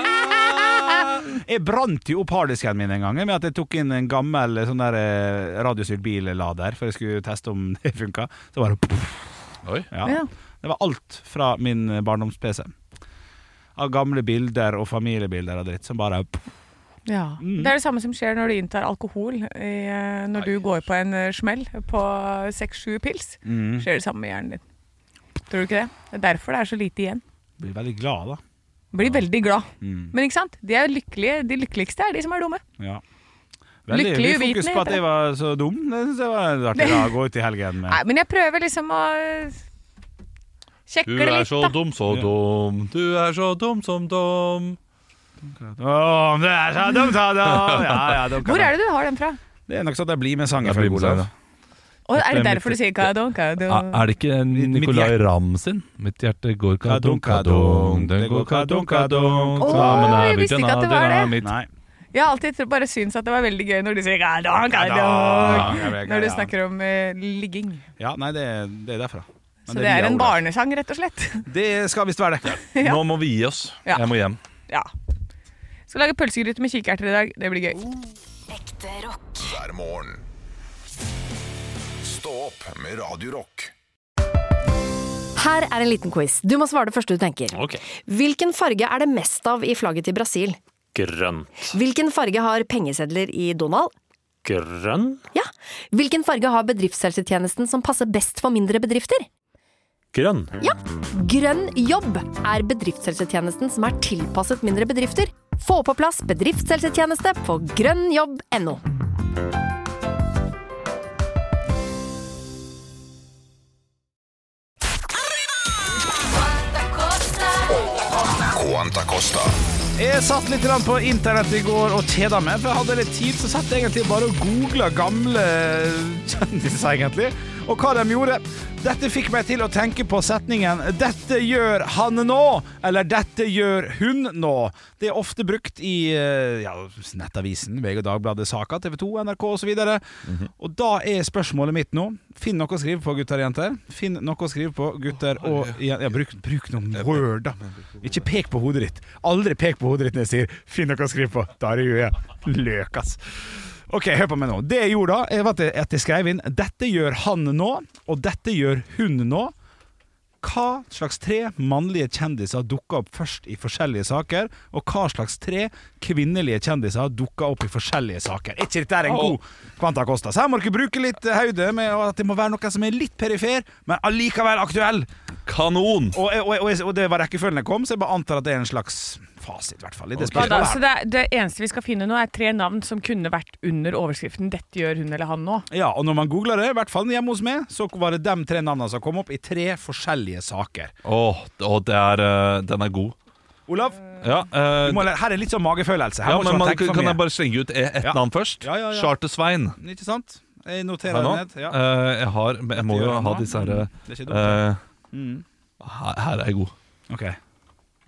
[SPEAKER 2] Ah. Jeg brant jo opp harddisken min en gang med at jeg tok inn en gammel sånn der eh, radiostyrt billader for jeg skulle teste om det funka. Så bare
[SPEAKER 4] Oi.
[SPEAKER 2] ja.
[SPEAKER 3] Ja.
[SPEAKER 2] Det var alt fra min eh, barndoms-PC. Av gamle bilder og familiebilder og dritt som bare
[SPEAKER 3] Ja. Det er det samme som skjer når du inntar alkohol. I, eh, når du går på en eh, smell på seks-sju pils,
[SPEAKER 4] Mm.
[SPEAKER 2] Mm.
[SPEAKER 3] skjer det samme med hjernen din. Tror du ikke det? Det er derfor det er så lite igjen.
[SPEAKER 2] Blir veldig glad, da.
[SPEAKER 3] Blir veldig glad.
[SPEAKER 2] Mm.
[SPEAKER 3] Men ikke sant? De, er lykkelige, de lykkeligste er de som er dumme.
[SPEAKER 2] Ja. Veldig
[SPEAKER 3] Lykkelig
[SPEAKER 2] mye fokus
[SPEAKER 3] uvitende,
[SPEAKER 2] på at jeg var så dum. Det synes jeg var en artig da, å gå ut i helgen
[SPEAKER 3] Nei,
[SPEAKER 2] med.
[SPEAKER 3] men jeg prøver liksom å
[SPEAKER 4] Du
[SPEAKER 3] sjekke det
[SPEAKER 4] er
[SPEAKER 3] litt,
[SPEAKER 4] så
[SPEAKER 3] da.
[SPEAKER 4] dum, så
[SPEAKER 2] Ja.
[SPEAKER 4] dum. Du er så dum som dum.
[SPEAKER 2] Åh, det er så dumt, da, da. Ja, ja, dumt,
[SPEAKER 3] Hvor
[SPEAKER 2] da.
[SPEAKER 3] er det du har den fra?
[SPEAKER 2] Det er nok sånn at jeg blir med sangen
[SPEAKER 4] Jeg
[SPEAKER 2] fra
[SPEAKER 4] blir med
[SPEAKER 2] Olav.
[SPEAKER 4] sangen.
[SPEAKER 3] Og er det
[SPEAKER 2] Dette er
[SPEAKER 3] derfor
[SPEAKER 2] mitt-
[SPEAKER 3] du sier kadon,
[SPEAKER 4] Er
[SPEAKER 3] kadon?
[SPEAKER 4] er det ikke Nicolay
[SPEAKER 2] hjerte-
[SPEAKER 4] Ramm sin? Mitt hjerte går
[SPEAKER 2] Kadung,
[SPEAKER 4] kadung,
[SPEAKER 2] kadung.
[SPEAKER 4] kadung, det går kadung, kadung.
[SPEAKER 3] Åh,
[SPEAKER 4] Sammen er
[SPEAKER 3] jeg
[SPEAKER 4] vi
[SPEAKER 3] visste ikke at det var det.
[SPEAKER 4] dynamitt.
[SPEAKER 2] Nei.
[SPEAKER 3] Jeg har alltid tro- bare syntes at det var veldig gøy når de sier kadon,
[SPEAKER 2] Ja, jeg
[SPEAKER 3] kadon.
[SPEAKER 2] vet ikke,
[SPEAKER 3] Når du
[SPEAKER 2] ja.
[SPEAKER 3] snakker om eh, ligging.
[SPEAKER 2] Ja, nei, det er, det er derfra. Men
[SPEAKER 3] Så det er
[SPEAKER 2] via
[SPEAKER 3] en
[SPEAKER 2] Olav.
[SPEAKER 3] barnesang, rett og slett.
[SPEAKER 2] Det skal visst være det.
[SPEAKER 4] Nå må vi gi oss.
[SPEAKER 3] Ja.
[SPEAKER 4] Jeg må hjem.
[SPEAKER 3] Ja. Skal lage pølsegryte med kikerter i dag. Det
[SPEAKER 2] Oh,
[SPEAKER 3] blir gøy.
[SPEAKER 5] Ekte rock.
[SPEAKER 1] hver morgen. Stå opp med Radio Rock.
[SPEAKER 6] Her er en liten quiz. Du må svare det første du tenker. Hvilken farge er det mest av i flagget til Brasil?
[SPEAKER 7] Grønn.
[SPEAKER 6] Hvilken farge har pengesedler i Donald?
[SPEAKER 7] Grønn?
[SPEAKER 6] Ja. Hvilken farge har bedriftshelsetjenesten som passer best for mindre bedrifter?
[SPEAKER 7] Grønn.
[SPEAKER 6] Ja. Grønn jobb er bedriftshelsetjenesten som er tilpasset mindre bedrifter. Få på plass bedriftshelsetjeneste på grønnjobb.no.
[SPEAKER 1] Quanta Costa.
[SPEAKER 2] Jeg satt litt grann på internett i går og kjeda meg, for jeg hadde litt tid. Så satt jeg egentlig bare og googla gamle kjendiser, egentlig, og hva de gjorde. Dette fikk meg til å tenke på setningen 'Dette gjør han nå', eller 'Dette gjør hun nå'. Det er ofte brukt i eh, ja, Nettavisen, VG, Dagbladet, Saka, TV 2, NRK osv. videre Og da er spørsmålet mitt nå Finn noe å skrive på, gutter og jenter. Finn noe å skrive på, gutter og jen- ja, bruk, bruk noen word, da. Ikke pek på hodet ditt. Aldri pek på hodet ditt når jeg sier 'finn noe å skrive på'. Da er det jo jeg løk, ass. Ok, hør på meg nå. Det jeg gjorde da, er at jeg, at jeg skrev inn 'dette gjør han nå', og 'dette gjør hun nå'. Hva slags tre mannlige kjendiser dukka opp først i forskjellige saker, og hva slags tre kvinnelige kjendiser dukka opp i forskjellige saker? Er ikke dette er en god Quanta Costa? Så her må dere bruke litt høyde med at det må være noen som er litt perifer, men allikevel aktuell.
[SPEAKER 4] Kanon!
[SPEAKER 2] Og, og, og, og det var rekkefølgen jeg kom, så jeg bare antar at det er en slags fasit. I hvert fall, i det
[SPEAKER 3] Ja, da,
[SPEAKER 2] spørsmålet her.
[SPEAKER 3] så det, er- det eneste vi skal finne nå, er tre navn som kunne vært under overskriften 'Dette gjør hun eller han nå'.
[SPEAKER 2] Ja, og når man googler det, i hvert fall hjemme hos meg, så var det de tre navnene som kom opp i tre forskjellige saker.
[SPEAKER 4] Åh, åh, det er, eh, den er god.
[SPEAKER 2] Olav,
[SPEAKER 4] Ja, eh,
[SPEAKER 2] du må, her er litt sånn magefølelse. Her
[SPEAKER 4] ja
[SPEAKER 2] må ikke man
[SPEAKER 4] men man,
[SPEAKER 2] tenke
[SPEAKER 4] kan
[SPEAKER 2] for
[SPEAKER 4] jeg
[SPEAKER 2] mye.
[SPEAKER 4] bare slenge ut ett
[SPEAKER 2] Ja.
[SPEAKER 4] navn først?
[SPEAKER 2] Ja, ja, ja.
[SPEAKER 4] Charter-Svein.
[SPEAKER 2] Ikke sant? Jeg noterer
[SPEAKER 4] Her nå.
[SPEAKER 2] det ned. Ja.
[SPEAKER 4] Eh, jeg, har, men jeg må jo
[SPEAKER 2] gjør han Mm.
[SPEAKER 4] ha
[SPEAKER 2] nå.
[SPEAKER 4] disse herre
[SPEAKER 2] Det er ikke dumt.
[SPEAKER 4] eh, her, her er jeg god.
[SPEAKER 2] Ok.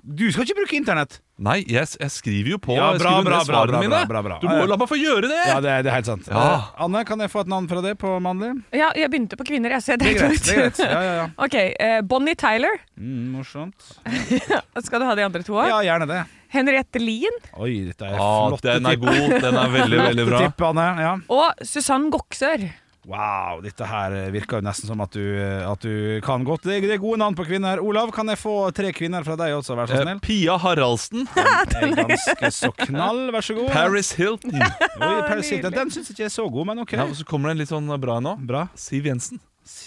[SPEAKER 2] Du skal ikke bruke internett!
[SPEAKER 4] Nei, jeg, s- jeg skriver jo på.
[SPEAKER 2] Ja,
[SPEAKER 4] jeg
[SPEAKER 2] bra, bra,
[SPEAKER 4] skriver ned
[SPEAKER 2] bra,
[SPEAKER 4] svarene
[SPEAKER 2] bra,
[SPEAKER 4] mine.
[SPEAKER 2] bra, bra, bra.
[SPEAKER 4] Du må
[SPEAKER 2] Ja, ja.
[SPEAKER 4] jo la meg få gjøre det!
[SPEAKER 2] Ja, det, er- det er helt sant.
[SPEAKER 4] Ja.
[SPEAKER 2] Eh, Anne, kan jeg få et navn fra deg på mannlig?
[SPEAKER 3] Ja, jeg begynte på kvinner, jeg, så jeg
[SPEAKER 2] Det er
[SPEAKER 3] dreit
[SPEAKER 2] greit. det er greit
[SPEAKER 3] meg ut.
[SPEAKER 2] Ja, ja, ja.
[SPEAKER 3] Ok, eh, Bonnie Tyler.
[SPEAKER 2] Mm, morsomt.
[SPEAKER 3] Skal du ha de andre to òg?
[SPEAKER 2] Ja, gjerne det.
[SPEAKER 3] Henriette Lien
[SPEAKER 2] Oi, dette er
[SPEAKER 4] Ah,
[SPEAKER 2] flotte
[SPEAKER 4] den er
[SPEAKER 2] tipp.
[SPEAKER 4] god. Den er veldig, veldig bra.
[SPEAKER 2] Tipp, Anne. Ja.
[SPEAKER 3] og Susann Goksør.
[SPEAKER 2] Wow, dette her virker jo nesten som at du, eh, at du kan godt. Det, det er gode navn på kvinner. Olav, kan jeg få tre kvinner fra deg også, vær så
[SPEAKER 4] Eh,
[SPEAKER 2] snill?
[SPEAKER 4] Pia Haraldsen.
[SPEAKER 2] Det er ganske så knall, vær så god.
[SPEAKER 4] Paris Hilton.
[SPEAKER 2] Oi, Paris Hilton. Den syns ikke jeg er så god, men OK.
[SPEAKER 4] Ja, og så kommer det en litt sånn bra en nå.
[SPEAKER 2] Bra.
[SPEAKER 4] Siv Jensen.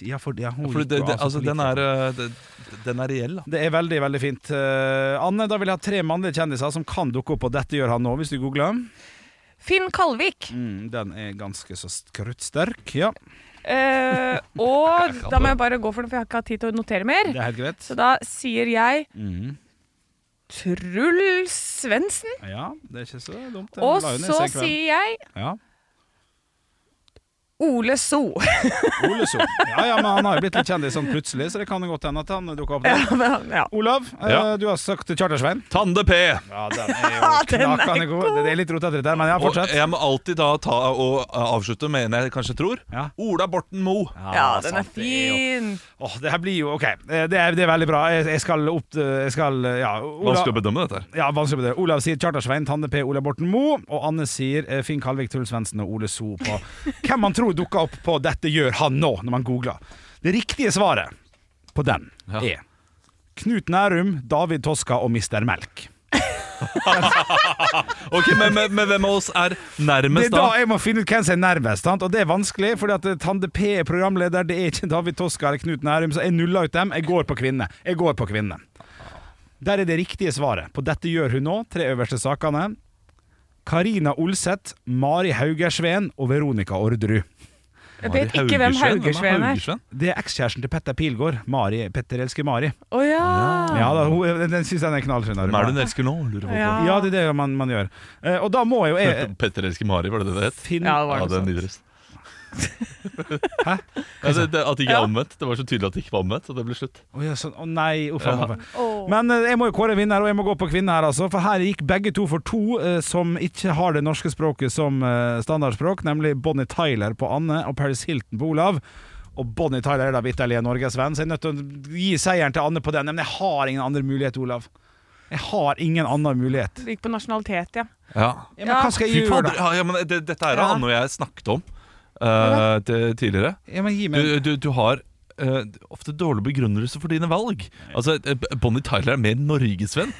[SPEAKER 2] Ja, for, ja, hun
[SPEAKER 4] For
[SPEAKER 2] gikk
[SPEAKER 4] det,
[SPEAKER 2] jo
[SPEAKER 4] det,
[SPEAKER 2] av som
[SPEAKER 4] altså, den, er,
[SPEAKER 2] politiker.
[SPEAKER 4] eh, det- den er reell, da.
[SPEAKER 2] det er veldig veldig fint. Eh, Anne, da vil jeg ha tre mannlige kjendiser som kan dukke opp, og dette gjør han nå, hvis du googler.
[SPEAKER 3] Finn Kalvik.
[SPEAKER 2] Mm, den er ganske så kruttsterk. Ja,
[SPEAKER 3] Eh, og da må jeg bare gå for det, for jeg har ikke hatt tid til å notere
[SPEAKER 2] det
[SPEAKER 3] mer.
[SPEAKER 2] er helt greit.
[SPEAKER 3] Så da sier jeg
[SPEAKER 2] Mhm.
[SPEAKER 3] Truls Svendsen.
[SPEAKER 2] Ja, det er ikke så dumt. Den
[SPEAKER 3] Og
[SPEAKER 2] la hun i
[SPEAKER 3] så
[SPEAKER 2] seg kvelden.
[SPEAKER 3] sier jeg
[SPEAKER 2] ja.
[SPEAKER 3] Ole So.
[SPEAKER 2] Ole So. Ja, ja, men han har jo blitt litt kjendis sånn plutselig, så det kan jo godt hende at han dukker opp
[SPEAKER 3] Ja,
[SPEAKER 2] der.
[SPEAKER 3] men, ja.
[SPEAKER 2] Olav, eh,
[SPEAKER 4] Ja.
[SPEAKER 2] du har sagt Chartersveien.
[SPEAKER 4] Tande P!
[SPEAKER 2] Ja, den er jo knakende god. eh, Det er litt rotete, dette her, men ja,
[SPEAKER 4] Og
[SPEAKER 2] fortsett.
[SPEAKER 4] jeg må alltid da ta og eh, avslutte med en jeg kanskje tror.
[SPEAKER 2] Ja.
[SPEAKER 4] Ola Borten Moe.
[SPEAKER 3] ja, den er
[SPEAKER 2] sant, det jo-
[SPEAKER 3] fin.
[SPEAKER 2] Åh, det her blir jo OK. eh, Det er, det er veldig bra. Jeg, jeg skal opp eh, Jeg skal Ja. Olav-
[SPEAKER 4] Vanskelig å bedømme dette. her
[SPEAKER 2] Ja, vanskelig å bedømme. Olav sier Chartersveien, Tande P, Ola Borten Moe. Og Anne sier eh, Finn Kalvik, Truls Svendsen og Ole So på hvem man tror dukker opp på 'Dette gjør han nå', når man googler. Det riktige svaret på den
[SPEAKER 4] Ja.
[SPEAKER 2] er Knut Nærum, David Toska og Mister Melk.
[SPEAKER 4] Ok, men, men, men hvem av oss er
[SPEAKER 2] Det
[SPEAKER 4] nærmest
[SPEAKER 2] er da
[SPEAKER 4] da?
[SPEAKER 2] jeg må finne ut hvem som er nærmest, sant? og det er vanskelig. Fordi at eh, Tande P er programleder, det er ikke David Toska eller Knut Nærum. Så jeg nuller ut dem. Jeg går på kvinne. Jeg går på kvinne. Der er det riktige svaret. På dette gjør hun nå, tre øverste sakene. Karina Olseth, Mari Haugersveen og Veronica Orderud.
[SPEAKER 3] Jeg vet ikke hvem Haugersveen er.
[SPEAKER 2] Det er ekskjæresten til Petter Pilgaard. Mari, Petter elsker Mari.
[SPEAKER 3] Å ja.
[SPEAKER 2] Ja da, hun, den den syns jeg er knallfin.
[SPEAKER 4] Hvem er det hun elsker nå? Lurer jeg på.
[SPEAKER 3] Ja.
[SPEAKER 2] Ja, det er det man, man gjør. Eh, Og da må jo jeg
[SPEAKER 4] Petter- Petter elsker Mari, var det det det het?
[SPEAKER 2] finne
[SPEAKER 3] Ja, det var
[SPEAKER 4] Ja,
[SPEAKER 3] noe
[SPEAKER 4] det er
[SPEAKER 3] sånt.
[SPEAKER 4] nydelig. Hæ? Altså, det, at det ikke
[SPEAKER 3] Ja.
[SPEAKER 4] er omvendt. Det var så tydelig at det ikke var omvendt, så det ble slutt.
[SPEAKER 2] Å ja, sånn. Å nei, uff a
[SPEAKER 4] Ja.
[SPEAKER 2] meg.
[SPEAKER 3] Åh.
[SPEAKER 2] Men eh, jeg må jo kåre en vinner, og jeg må gå på kvinne her, altså. For her gikk begge to for to eh, som ikke har det norske språket som eh, standardspråk, nemlig Bonnie Tyler på Anne og Paris Hilton på Olav. Og Bonnie Tyler er da vitterlig en norgesvenn, så jeg er nødt til å gi seieren til Anne på den. Men jeg har ingen andre mulighet, Olav. Jeg har ingen annen mulighet.
[SPEAKER 3] Det gikk på nasjonalitet, ja.
[SPEAKER 4] Ja.
[SPEAKER 2] Ja, men hva skal
[SPEAKER 4] Fy
[SPEAKER 2] jeg gjøre,
[SPEAKER 4] fader,
[SPEAKER 2] da?
[SPEAKER 4] ja, ja, men det, dette er det
[SPEAKER 2] Ja.
[SPEAKER 4] Anne og jeg snakket om eh, til- tidligere.
[SPEAKER 2] Ja, men gi meg
[SPEAKER 4] Du, du, du har eh, ofte dårlig begrunnelse for dine valg. Altså, eh, Bonnie Tyler er mer norgesvenn.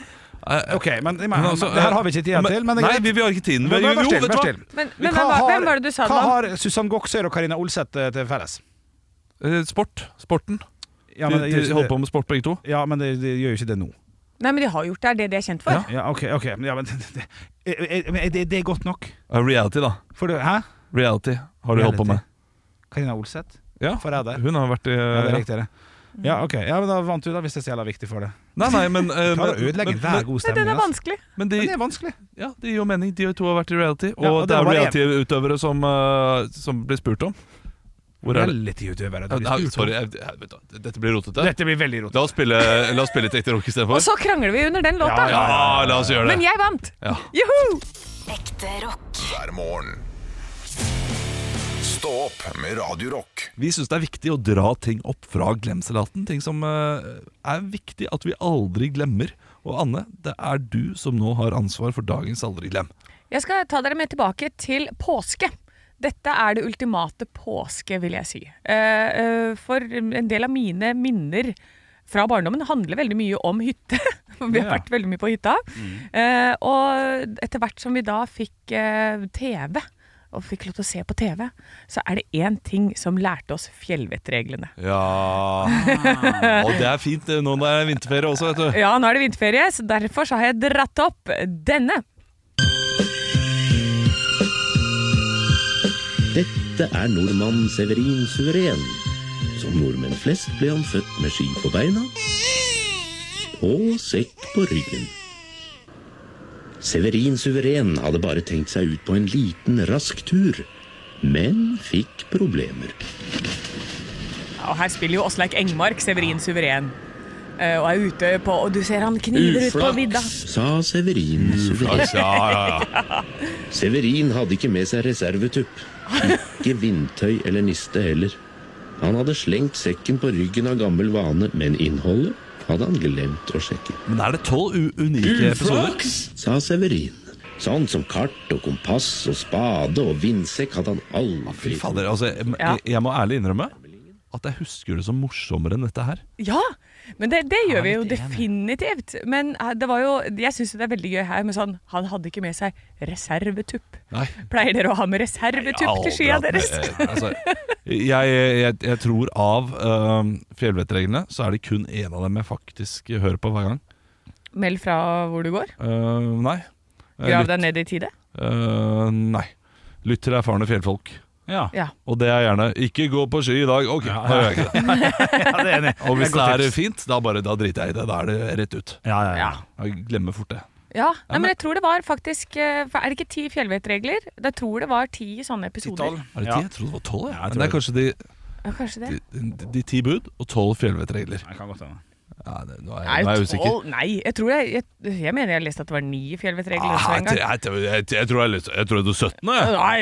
[SPEAKER 4] Eh,
[SPEAKER 2] OK, men, men,
[SPEAKER 4] Men altså,
[SPEAKER 2] det her har vi ikke tid til. Men det er
[SPEAKER 4] nei,
[SPEAKER 2] greit.
[SPEAKER 4] vi, vi har ikke tiden.
[SPEAKER 2] Men
[SPEAKER 4] Vi-
[SPEAKER 2] vær
[SPEAKER 4] jo,
[SPEAKER 2] stille,
[SPEAKER 4] vet du
[SPEAKER 2] vær
[SPEAKER 4] hva?
[SPEAKER 2] stille. Men
[SPEAKER 3] Men, men hvem, var, hvem var det du sa det
[SPEAKER 2] hva
[SPEAKER 3] var?
[SPEAKER 2] har Susann Goksøyr og Karina Olseth eh, til felles?
[SPEAKER 4] Eh, Sport. Sporten.
[SPEAKER 2] Ja, men, det gjør
[SPEAKER 4] de de
[SPEAKER 2] ikke
[SPEAKER 4] holder
[SPEAKER 2] det-
[SPEAKER 4] på med sport, begge to.
[SPEAKER 2] ja, men det, det gjør jo ikke det nå.
[SPEAKER 3] Nei, men de har gjort det. Det er det de er kjent for.
[SPEAKER 4] Ja.
[SPEAKER 2] Ja, ok, ok men ja, men, det, er, er, er det godt nok?
[SPEAKER 4] Eh, Reality, da.
[SPEAKER 2] For det, hæ?
[SPEAKER 4] Reality har de holdt på med.
[SPEAKER 2] Karina Olseth?
[SPEAKER 4] Ja,
[SPEAKER 2] Forræder?
[SPEAKER 4] Hun har vært i
[SPEAKER 2] Ja, det er riktig, det.
[SPEAKER 4] Mm.
[SPEAKER 2] Ja, ok, ja, men da vant du, da, hvis det er så jævla viktig for deg.
[SPEAKER 4] Nei, nei, men eh,
[SPEAKER 2] Klarer å
[SPEAKER 4] men-
[SPEAKER 2] ødelegge
[SPEAKER 4] men-
[SPEAKER 2] hver god
[SPEAKER 3] Nei,
[SPEAKER 2] stemning.
[SPEAKER 3] den er
[SPEAKER 2] altså.
[SPEAKER 3] vanskelig.
[SPEAKER 4] Men
[SPEAKER 2] Men det
[SPEAKER 4] de,
[SPEAKER 2] er vanskelig.
[SPEAKER 4] ja, det gir jo mening. De to har vært i reality. Og,
[SPEAKER 2] Ja, og det
[SPEAKER 4] det er
[SPEAKER 2] var bare
[SPEAKER 4] reality-utøvere som, eh, som blir spurt om. Hvor er det?
[SPEAKER 2] Reality-utøvere. det blir
[SPEAKER 4] Nei,
[SPEAKER 2] spurt om.
[SPEAKER 4] sorry, jeg, jeg, vet du, dette blir rotete.
[SPEAKER 2] Dette blir veldig rotete.
[SPEAKER 4] La oss spille, la oss spille litt ekte rock
[SPEAKER 3] Og
[SPEAKER 4] istedenfor.
[SPEAKER 3] så krangler vi under den låta.
[SPEAKER 4] Ja, la oss gjøre det.
[SPEAKER 3] Men jeg vant!
[SPEAKER 4] Ja.
[SPEAKER 3] Juhu!
[SPEAKER 5] Ekte rock.
[SPEAKER 1] hver morgen. Stå opp med Radio Rock.
[SPEAKER 4] Vi syns det er viktig å dra ting opp fra glemselaten. Ting som eh, er viktig at vi aldri glemmer. Og Anne, det er du som nå har ansvar for dagens aldri glem.
[SPEAKER 3] Jeg skal ta dere med tilbake til påske. Dette er det ultimate påske, vil jeg si. Eh, eh, For en del av mine minner fra barndommen handler veldig mye om hytte. Vi har
[SPEAKER 2] Ja.
[SPEAKER 3] vært veldig mye på hytta. Eh, Og etter hvert som vi da fikk eh, TV, og fikk lov til å se på TV, så er det én ting som lærte oss fjellvettreglene.
[SPEAKER 4] Ja
[SPEAKER 3] Ah.
[SPEAKER 4] Og det er fint eh, nå når det er vinterferie også, vet du.
[SPEAKER 3] Ja, nå er det vinterferie, så derfor så har jeg dratt opp denne.
[SPEAKER 8] Dette er nordmannen Severin Suveren. Som nordmenn flest ble han født med ski på beina og sekk på ryggen. Severin Suveren hadde bare tenkt seg ut på en liten, rask tur, men fikk problemer.
[SPEAKER 3] Ja, Og her spiller jo Åsleik Engmark Severin suveren. Eh, Og er ute på Og du ser han kniver ut på vidda.
[SPEAKER 8] Uflaks, sa Severin Suveren.
[SPEAKER 4] Ja, ja, ja.
[SPEAKER 8] Severin hadde ikke med seg reservetupp. Ikke vindtøy eller niste heller. Han hadde slengt sekken på ryggen av gammel vane, men innholdet hadde han glemt å sjekke.
[SPEAKER 4] Men er det tolv unike episoder?
[SPEAKER 8] sa Severin. Sånn som kart og kompass og spade og vindsekk hadde han
[SPEAKER 4] Fy
[SPEAKER 8] aldri
[SPEAKER 4] fader, altså, jeg,
[SPEAKER 3] Ja.
[SPEAKER 4] jeg, jeg må ærlig innrømme at jeg husker det som morsommere enn dette her.
[SPEAKER 3] Ja, men det, det gjør vi jo definitivt. Men eh, det var jo Jeg syns det er veldig gøy her med sånn Han hadde ikke med seg reservetupp.
[SPEAKER 4] Nei.
[SPEAKER 3] Pleier dere å ha med reservetupp til skia deres?
[SPEAKER 4] altså, jeg, jeg, jeg tror av um, fjellvettreglene så er det kun én av dem jeg faktisk hører på hver gang.
[SPEAKER 3] Meld fra hvor du går.
[SPEAKER 4] Eh, nei. Eh,
[SPEAKER 3] Grav
[SPEAKER 4] lytt-
[SPEAKER 3] deg ned i tide.
[SPEAKER 4] eh, nei. Lytt til erfarne fjellfolk.
[SPEAKER 2] Ja.
[SPEAKER 3] Ja.
[SPEAKER 4] Og det er gjerne 'ikke gå på sky i dag'. Ok,
[SPEAKER 2] Ja,
[SPEAKER 4] da gjør jeg ikke det.
[SPEAKER 2] ja, det er enig.
[SPEAKER 4] Og hvis
[SPEAKER 2] er
[SPEAKER 4] det
[SPEAKER 2] godt
[SPEAKER 4] er
[SPEAKER 2] tips.
[SPEAKER 4] fint, da, bare, da driter jeg i det. Da er det rett ut.
[SPEAKER 2] Ja, ja, ja.
[SPEAKER 3] ja.
[SPEAKER 4] Jeg glemmer fort det.
[SPEAKER 3] ja. Nei,
[SPEAKER 4] men-
[SPEAKER 3] men jeg tror det var faktisk eh, for Er det ikke ti fjellvettregler? Jeg tror det var ti sånne episoder.
[SPEAKER 2] Tolv.
[SPEAKER 4] Er det ti?
[SPEAKER 2] Ja.
[SPEAKER 4] altså? Jeg trodde det var tolv.
[SPEAKER 2] Ja, jeg
[SPEAKER 4] Men det er
[SPEAKER 2] tror
[SPEAKER 4] kanskje de,
[SPEAKER 3] Ja, kanskje det.
[SPEAKER 4] de, de, de ti bud og tolv fjellvettregler.
[SPEAKER 2] Jeg kan godt hende.
[SPEAKER 4] Ja, det- nå er,
[SPEAKER 3] Nei,
[SPEAKER 4] nå er jeg usikker.
[SPEAKER 3] tolv- Nei, jeg tror jeg, jeg, jeg mener jeg har lest at det var ni fjellvettregler
[SPEAKER 4] Ah,
[SPEAKER 3] også en
[SPEAKER 4] jeg,
[SPEAKER 3] gang.
[SPEAKER 4] jeg, jeg, jeg tror jeg er litt- jeg tror jeg er 17. Jeg.
[SPEAKER 3] Nei,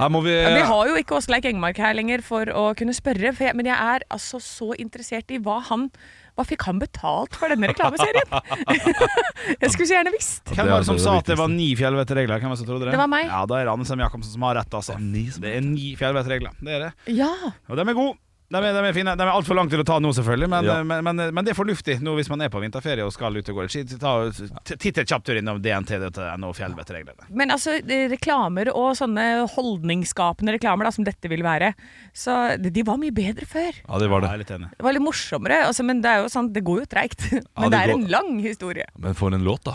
[SPEAKER 4] Her må vi
[SPEAKER 3] vi har jo ikke Åsleik Engmark her lenger for å kunne spørre, for jeg, men jeg er altså så interessert i hva han Hva fikk han betalt for denne reklameserien? jeg skulle så gjerne visst.
[SPEAKER 2] Hvem var det som sa at det var ni fjellvettregler? Hvem var det som trodde det?
[SPEAKER 3] Det var meg.
[SPEAKER 2] Ja, Da er det Anne Sem Jacobsen som har rett, altså. Det er ni fjellvettregler. Det er det.
[SPEAKER 3] Ja.
[SPEAKER 2] Og dem er gode. De er, de er fine. De er altfor lange til å ta nå, selvfølgelig, men, eh,
[SPEAKER 4] Ja.
[SPEAKER 2] men, men, men det er fornuftig nå hvis man er på vinterferie og skal ut og gå litt ski. Ta- t- Titt en kjapp tur innom DNT.no og fjellvettreglene.
[SPEAKER 3] Men altså, eh, reklamer og sånne holdningsskapende reklamer da, som dette vil være, så de de var mye bedre før.
[SPEAKER 4] Ja, det var
[SPEAKER 2] Jeg
[SPEAKER 4] det.
[SPEAKER 2] er litt enig.
[SPEAKER 3] Det var litt morsommere, altså, men det er jo sånn, det går jo treigt. Men
[SPEAKER 4] Ja, det
[SPEAKER 3] det, er
[SPEAKER 4] går-
[SPEAKER 3] en lang historie.
[SPEAKER 4] Men for en låt, da.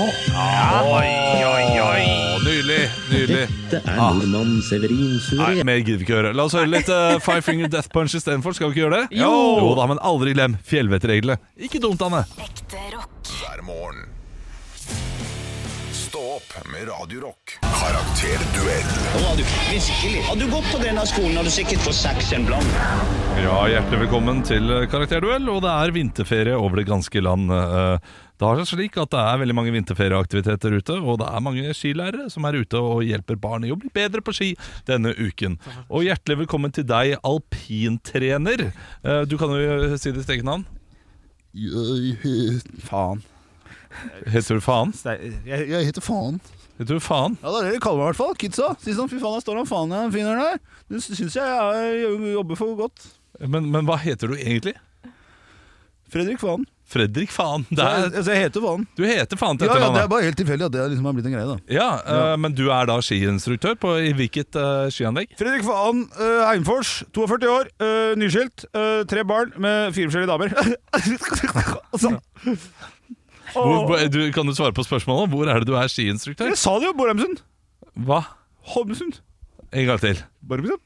[SPEAKER 4] Åh, Nydelig. Nydelig.
[SPEAKER 8] Dette er nordmannen
[SPEAKER 4] Ah.
[SPEAKER 8] Severin
[SPEAKER 4] Nei,
[SPEAKER 8] Sure.
[SPEAKER 4] mer gidder vi ikke høre. La oss høre litt eh, Five Finger Death Punch istedenfor. Skal vi ikke gjøre det?
[SPEAKER 3] Jo.
[SPEAKER 4] da, men aldri glem fjellvettreglene. Ikke dumt, Anne.
[SPEAKER 5] Ekte rock.
[SPEAKER 1] hver morgen. Stå opp med Radio Rock. Karakterduell
[SPEAKER 9] Nå har du virkelig Hadde du gått på denne skolen, hadde du sikkert fått seks en blant.
[SPEAKER 4] Ja, Hjertelig velkommen til eh, Karakterduell. Og det er vinterferie over det ganske land. eh, Det har seg slik at det er veldig mange vinterferieaktiviteter ute, og det er mange skilærere som er ute og hjelper barn i å bli bedre på ski denne uken. Og hjertelig velkommen til deg, alpintrener. Eh, Du kan jo si ditt eget navn.
[SPEAKER 10] Faen.
[SPEAKER 4] Heter du faen?
[SPEAKER 10] Jeg, jeg heter faen.
[SPEAKER 4] Heter du faen?
[SPEAKER 10] Ja, det er det de kaller meg i hvert fall. Kidsa. Si sånn, fy faen, der står han faen igjen, finner der. Du syns jeg er, jobber for godt.
[SPEAKER 4] Men, men hva heter du egentlig?
[SPEAKER 10] Fredrik Faen.
[SPEAKER 4] Fredrik Faen. Det
[SPEAKER 10] Så jeg,
[SPEAKER 4] er,
[SPEAKER 10] altså, jeg heter Faen.
[SPEAKER 4] du heter faen til
[SPEAKER 10] Ja, ja, det er
[SPEAKER 4] etternavnet.
[SPEAKER 10] bare helt tilfeldig at det liksom har blitt en greie, da.
[SPEAKER 4] Ja, eh, men du er da skiinstruktør på i hvilket eh, skianlegg?
[SPEAKER 10] Fredrik Faen eh, Heimfors, 42 år, eh, nyskilt, eh, tre barn med fire forskjellige damer. altså,
[SPEAKER 4] Hvor, hvor- du, kan du svare på spørsmålet? Hvor er det du er skiinstruktør?
[SPEAKER 10] jeg sa det jo, Borheimsund.
[SPEAKER 4] Hva?
[SPEAKER 10] Holmsund.
[SPEAKER 4] En gang til.
[SPEAKER 10] Borheimsund.